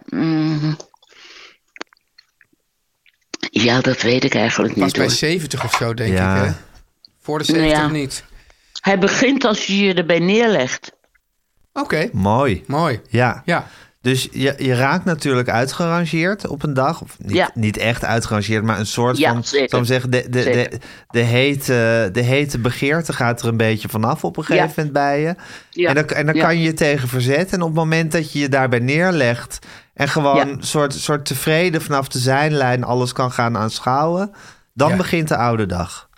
Mhm. Ja, dat weet ik eigenlijk Pas niet. bij Hoor. 70 of zo, denk Ja. ik. Hè? Voor de 70 Ja. niet. Hij begint als je je erbij neerlegt. Oké, Mooi. mooi. Ja. Ja. Dus je, je raakt natuurlijk uitgerangeerd op een dag. Of niet, Ja. niet echt uitgerangeerd, maar een soort Ja, van... zeker. Zou ik zeggen, de, de, Zeker. de, de, hete, de hete begeerte gaat er een beetje vanaf op een gegeven Ja. moment bij je. Ja. En dan, en dan Ja. kan je je tegen verzetten. En op het moment dat je je daarbij neerlegt... en gewoon Ja. soort, soort tevreden vanaf de zijlijn alles kan gaan aanschouwen... dan Ja. begint de oude dag.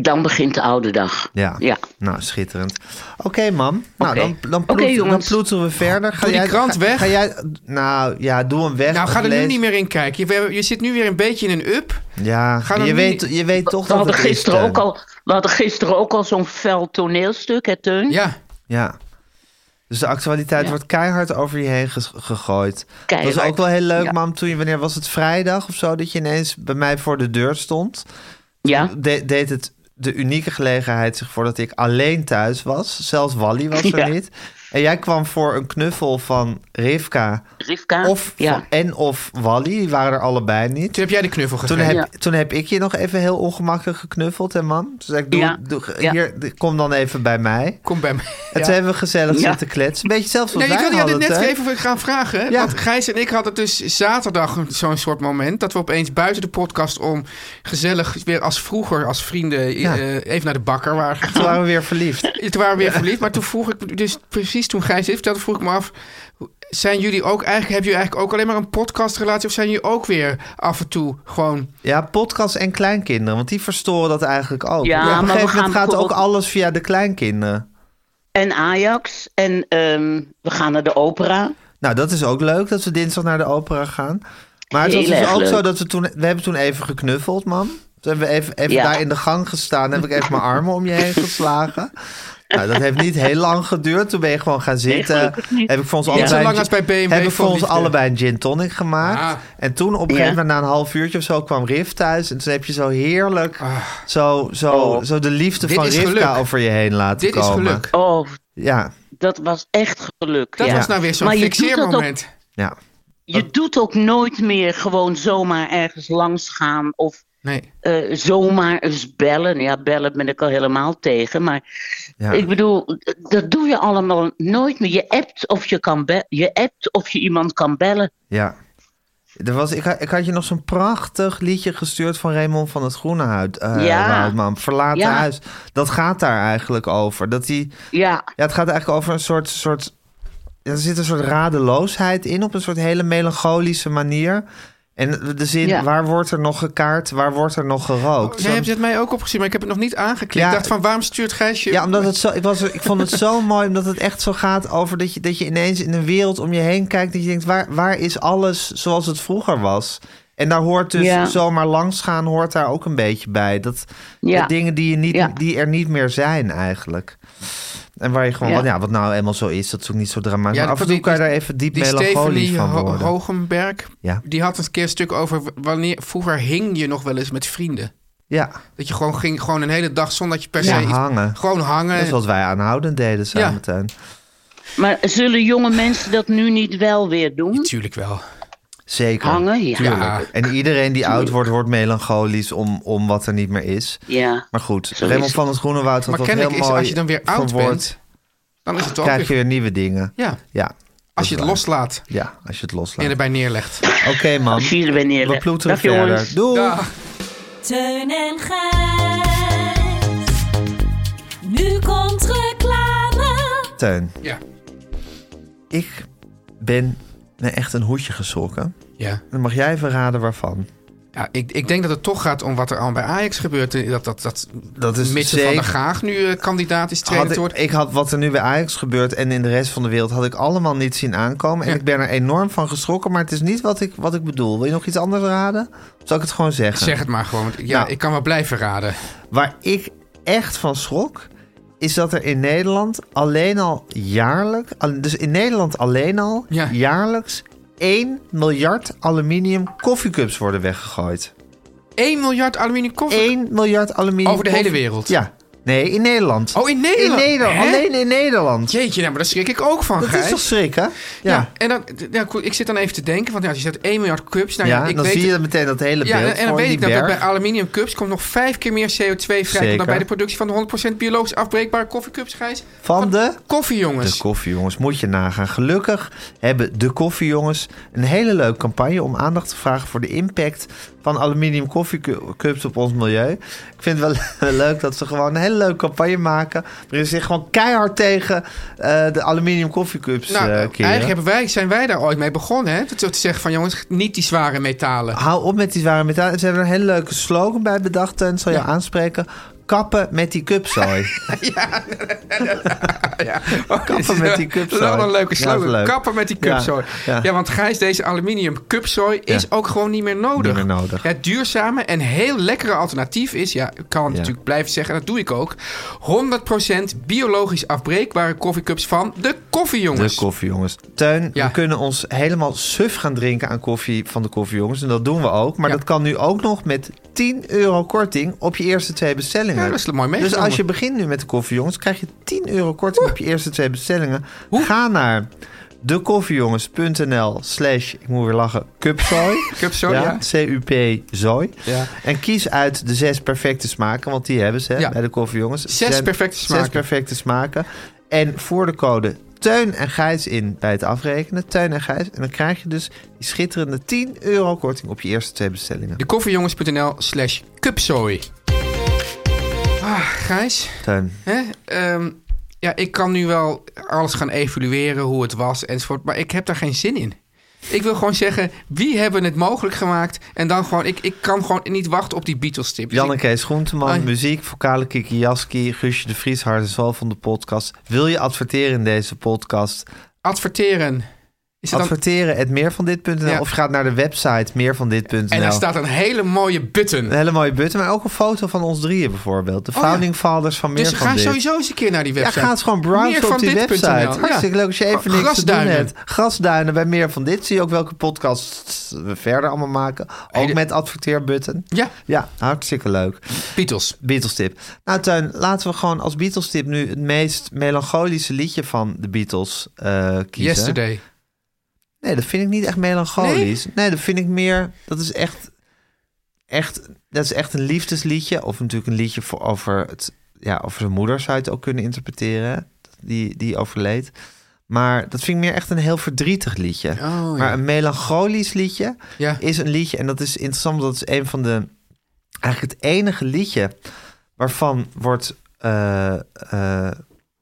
Dan begint de oude dag. Ja. Ja. Nou, schitterend. Oké, mam. Nou, Oké. dan, dan, Oké, ploet- dan jongens. ploeteren we verder. Ga Doe die krant ga- weg. Ga jij, nou ja, doe hem weg. Nou, ga er nu Lees- niet meer in kijken. Je, we hebben- je zit nu weer een beetje in een up. Ja, Ga er je, nu weet, niet- je weet toch We dat hadden, het is, gisteren Teun. ook al, we hadden gisteren ook al zo'n fel toneelstuk, hè Hm? Teun? Ja. Ja. Dus de actualiteit Ja. wordt keihard over je heen ge- gegooid. Dat Keihard. was ook wel heel leuk, Ja. mam. Toen je, wanneer was het vrijdag of zo, dat je ineens bij mij voor de deur stond? Ja. De- deed het de unieke gelegenheid zich voor dat ik alleen thuis was. Zelfs Wally was er Ja. niet. En jij kwam voor een knuffel van Rivka Rivka. of Ah, ja. van- en of Wally. Die waren er allebei niet. Toen heb jij de knuffel Toen gegeven. heb, Ja. toen heb ik je nog even heel ongemakkelijk geknuffeld, hè, mam? Toen zei ik, doe, Ja. doe- Ja. hier, kom dan even bij mij. Kom bij me. En Ja. toen hebben we gezellig Ja. zitten kletsen. Een beetje zelfs wat Nee, ik wij wilde je dit hadden, net Teun. even gaan vragen. hè? Ja. Want Gijs en ik hadden dus zaterdag zo'n soort moment... dat we opeens buiten de podcast om gezellig weer als vroeger... als vrienden Ja. eh, even naar de bakker waren Toen gegaan. waren we weer verliefd. Toen waren we weer verliefd. Maar toen vroeg ik... me- dus precies toen Gijs dit vertelde, vroeg ik me af... zijn jullie ook eigenlijk... hebben jullie eigenlijk ook alleen maar een podcastrelatie... of zijn jullie ook weer af en toe gewoon... Ja, podcast en kleinkinderen, want die verstoren dat eigenlijk ook. Ja, op maar een we gegeven moment gaat gaan ook bijvoorbeeld- alles via de kleinkinderen. En Ajax. En ehm, we gaan naar de opera. Nou, dat is ook leuk dat we dinsdag naar de opera gaan. Maar het was Heel dus erg ook leuk. zo dat we toen... We hebben toen even geknuffeld, mam. Toen hebben we even, even Ja. daar in de gang gestaan. Heb ik even mijn armen om je heen geslagen. Nou, dat heeft niet heel lang geduurd. Toen ben je gewoon gaan zitten. gelukkig niet. Heb ik voor ons Niet allebei... zo een lang gin- als bij BMW Heb ik voor voor ons liefde. allebei een gin tonic gemaakt. Ah. En toen op een gegeven moment, na een half uurtje of zo, kwam Riff thuis. En toen heb je zo heerlijk... Zo, zo, Oh. zo de liefde Ah. Dit van is Rivka geluk. over je heen laten Dit is komen. geluk. Oh, Ja, dat was echt geluk. Dat ja. was nou weer zo'n Maar je doet dat ook- fixeermoment. ja. Je doet ook nooit meer gewoon zomaar ergens langs gaan. Of Nee. eh, zomaar eens bellen. Ja, bellen ben ik al helemaal tegen. Maar ja. ik bedoel, dat doe je allemaal nooit meer. Je appt of je, kan be- je, appt of je iemand kan bellen. Ja. Er was, ik, ha- ik had je nog zo'n prachtig liedje gestuurd van Raymond van het Groene Huid. eh, Ja. Woudman, Verlaten Ja. huis. Dat gaat daar eigenlijk over. Dat die, Ja, ja, het gaat eigenlijk over een soort, soort... ja, Er zit een soort radeloosheid in op een soort hele melancholische manier. En de zin, Ja. waar wordt er nog gekaart, waar wordt er nog gerookt? Jij Zo'n- hebt het mij ook opgezien, maar ik heb het nog niet aangeklikt. Ja. Ik dacht van, waarom stuurt Gijs je... Ja, omdat het zo, ik, was, er- ik vond het zo mooi, omdat het echt zo gaat over dat je, dat je ineens in een wereld om je heen kijkt. Dat je denkt, waar, waar is alles zoals het vroeger was? En daar hoort dus Ja. zomaar langsgaan, hoort daar ook een beetje bij. Dat Ja. de dingen die, je niet, Ja. die er niet meer zijn eigenlijk. En waar je gewoon, Ja. wat, ja, wat nou eenmaal zo is, dat is ook niet zo dramatisch. maar af en toe die- kan je die- daar even diep die melancholisch Stephanie van Ho- worden. Hogenberg, Ja. die had een keer een stuk over w- wanneer vroeger hing je nog wel eens met vrienden. ja, Dat je gewoon ging, gewoon een hele dag zonder dat je per Ja, se iets- hangen. gewoon hangen. dat is wat wij aanhoudend deden samen, Ja. Teun. Maar zullen jonge mensen dat nu niet wel weer doen? Natuurlijk wel. Zeker. Hangen? Ja. Ja. En iedereen die oud wordt, wordt melancholisch om, om wat er niet meer is. Ja. Maar goed, Zo is Raymond het. van het Groenewoud had dat Maar heel kennelijk mooi is als je dan weer oud verwoord. bent, dan is het ook krijg je weer... weer nieuwe dingen. Ja, Ja, dat als je is het waar. loslaat Ja, als je het en loslaat. erbij neerlegt. Oké man, Als jullie weer neerleggen. we ploeteren Dag, jongens. verder. Doei! Dag. Teun en Gijs. Nu komt reclame. Teun, Ja. ik ben me echt een hoedje geschrokken. Ja. Dan mag jij even raden waarvan. Ja, ik, ik denk dat het toch gaat om wat er allemaal bij Ajax gebeurt. Eh, Dat, dat, dat, Dat is Mitchell van zeker- der Gaag nu eh, kandidaat is trainer Had te ik, worden. ik had wat er nu bij Ajax gebeurt en in de rest van de wereld had ik allemaal niet zien aankomen. En Ja. ik ben er enorm van geschrokken, maar het is niet wat ik, wat ik bedoel. Wil je nog iets anders raden? Of zal ik het gewoon zeggen? Zeg het maar gewoon. want Ja, Nou. ik kan wel blijven raden. Waar ik echt van schrok, is dat er in Nederland alleen al jaarlijks, al- dus in Nederland alleen al Ja. jaarlijks 1 miljard aluminium koffiecups worden weggegooid. 1 miljard aluminium koffie. 1 miljard aluminium. Over de hele koffie- wereld? Ja. Nee, in Nederland. Oh, in Nederland? In Nederland. Hè? Alleen in Nederland. Jeetje, nou, maar daar schrik ik ook van, Dat is Gijs. toch schrik, hè? Ja. ja. en dan, ja, goed, ik zit dan even te denken, want ja, als je zegt 1 miljard cups, nou ja, Ja, ik dan weet, zie je meteen dat hele ja, beeld en, en dan voor weet ik die dat er bij berg. aluminium cups komt nog vijf keer meer CO2 vrij Zeker. dan bij de productie van de 100% biologisch afbreekbare koffiecups, Gijs. Van de... Koffie, De jongens. koffiejongens, moet je nagaan. Gelukkig hebben de koffiejongens een hele leuke campagne om aandacht te vragen voor de impact van aluminium koffiecups op ons milieu. Ik vind het wel leuk dat ze gewoon een hele leuke campagne maken. Waarin ze zich gewoon keihard tegen eh, de aluminium koffiecups eh nou, keren. eigenlijk hebben wij, zijn wij daar ooit mee begonnen, hè? Dat we te zeggen van, jongens, niet die zware metalen. Hou op met die zware metalen. Ze hebben er een hele leuke slogan bij bedacht en zal je Ja. aanspreken. Kappen met die cupzooi. Kappen met die cupzooi. Dat Oh, is wel een leuke Ja, slogan. dat is leuk. Kappen met die Ja, cupzooi. Ja, ja. want Gijs, deze aluminium cupzooi is Ja. ook gewoon niet meer nodig. Niet meer nodig. Het duurzame en heel lekkere alternatief is... Ja, ik kan het Ja. natuurlijk blijven zeggen, en dat doe ik ook... 100% biologisch afbreekbare koffiecups van de koffiejongens. De koffiejongens. Teun, Ja. we kunnen ons helemaal suf gaan drinken aan koffie van de koffiejongens. En dat doen we ook. Maar Ja. dat kan nu ook nog met 10 euro korting op je eerste twee bestellingen. Ja, dat is mooi Dus meegenomen. als je begint nu met de koffiejongens, krijg je 10 euro korting op je eerste twee bestellingen. Ga naar dekoffiejongens.nl slash, ik moet weer lachen, cupzooi. Cupzooi, ja. C-U-P zooi. Ja. En kies uit de zes perfecte smaken, want die hebben ze hè, Ja. bij de koffiejongens. Ze Zes zijn perfecte smaken. Zes perfecte smaken. En voor de code Teun en Gijs in bij het afrekenen. Teun en Gijs. En dan krijg je dus die schitterende 10 euro korting op je eerste twee bestellingen. De koffiejongens.nl slash cupzooi. Ah, Gijs... Teun. Hè? Ehm, ja, ik kan nu wel alles gaan evalueren, hoe het was enzovoort. Maar ik heb daar geen zin in. Ik wil gewoon zeggen, wie hebben het mogelijk gemaakt? En dan gewoon, ik, ik kan gewoon niet wachten op die Beatles-tip. Dus Jan en ik- Kees Groenteman, Hoi. muziek, vocale Kiki Jaski, Guusje de Vries, hart en ziel van de podcast. Wil je adverteren in deze podcast? Adverteren. Is het dan, Adverteren at meervandit.nl Ja. of ga naar de website meervandit.nl. en daar staat een hele mooie Een button. hele mooie button, maar ook een foto van ons drieën bijvoorbeeld. De Oh ja. founding fathers van meer Dus van ga dit. sowieso eens een keer naar die Ja, website. ga eens gewoon browsen op die Meervandit.nl, website. ja. Hartstikke leuk als je even niks te doen Grasduinen. hebt. Grasduinen bij meer van dit. Zie je ook welke podcasts we verder allemaal maken. Ook de- met adverteerbutton. Ja, Ja, hartstikke leuk. Beatles. Beatles tip. Nou Tuin, laten we gewoon als Beatles tip nu het meest melancholische liedje van de Beatles eh, kiezen. Yesterday. Nee, dat vind ik niet echt melancholisch. Nee, dat vind ik meer. Dat is echt, echt, dat is echt een liefdesliedje. Of natuurlijk een liedje voor, over, het, ja, over zijn moeder zou je het ook kunnen interpreteren. Die, die overleed. Maar dat vind ik meer echt een heel verdrietig liedje. ja. maar een melancholisch liedje Ja. is een liedje. En dat is interessant, want dat is een van de. Eigenlijk het enige liedje waarvan wordt. eh, eh,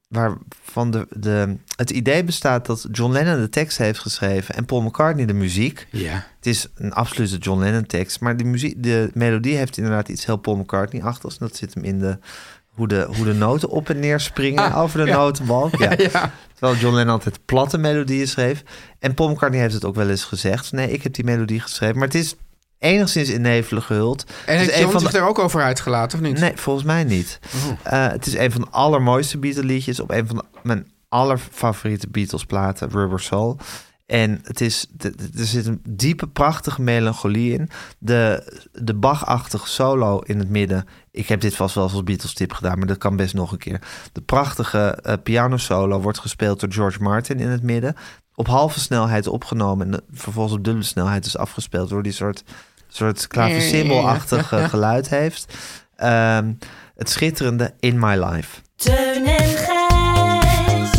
waarvan de, de, het idee bestaat dat John Lennon de tekst heeft geschreven en Paul McCartney de muziek. Ja. Het is een absolute John Lennon tekst, maar de, muziek, de melodie heeft inderdaad iets heel Paul McCartney-achtigs. En dat zit hem in de, hoe, de, hoe de noten op en neer springen Ah, over de ja. notenbalk. Ja. Ja. Terwijl John Lennon altijd platte melodieën schreef. En Paul McCartney heeft het ook wel eens gezegd. Nee, ik heb die melodie geschreven. Maar het is enigszins in nevelen gehuld. En Het is heeft een John van zich de- daar ook over uitgelaten, of niet? Nee, volgens mij niet. Eh, het is een van de allermooiste Beatles-liedjes op een van de- mijn allerfavoriete Beatles-platen, Rubber Soul. En het is, de- de- er zit een diepe, prachtige melancholie in. De, de Bach-achtige solo in het midden. Ik heb dit vast wel eens als Beatles-tip gedaan, maar dat kan best nog een keer. De prachtige eh, piano-solo wordt gespeeld door George Martin in het midden. Op halve snelheid opgenomen en eh, vervolgens op dubbele snelheid is afgespeeld door die soort, soort klaversymbolachtig eh, geluid heeft. Ehm, het schitterende In My Life. Teun en Gijs.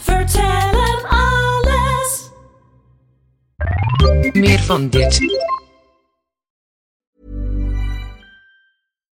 Vertel hem alles. Meer van dit.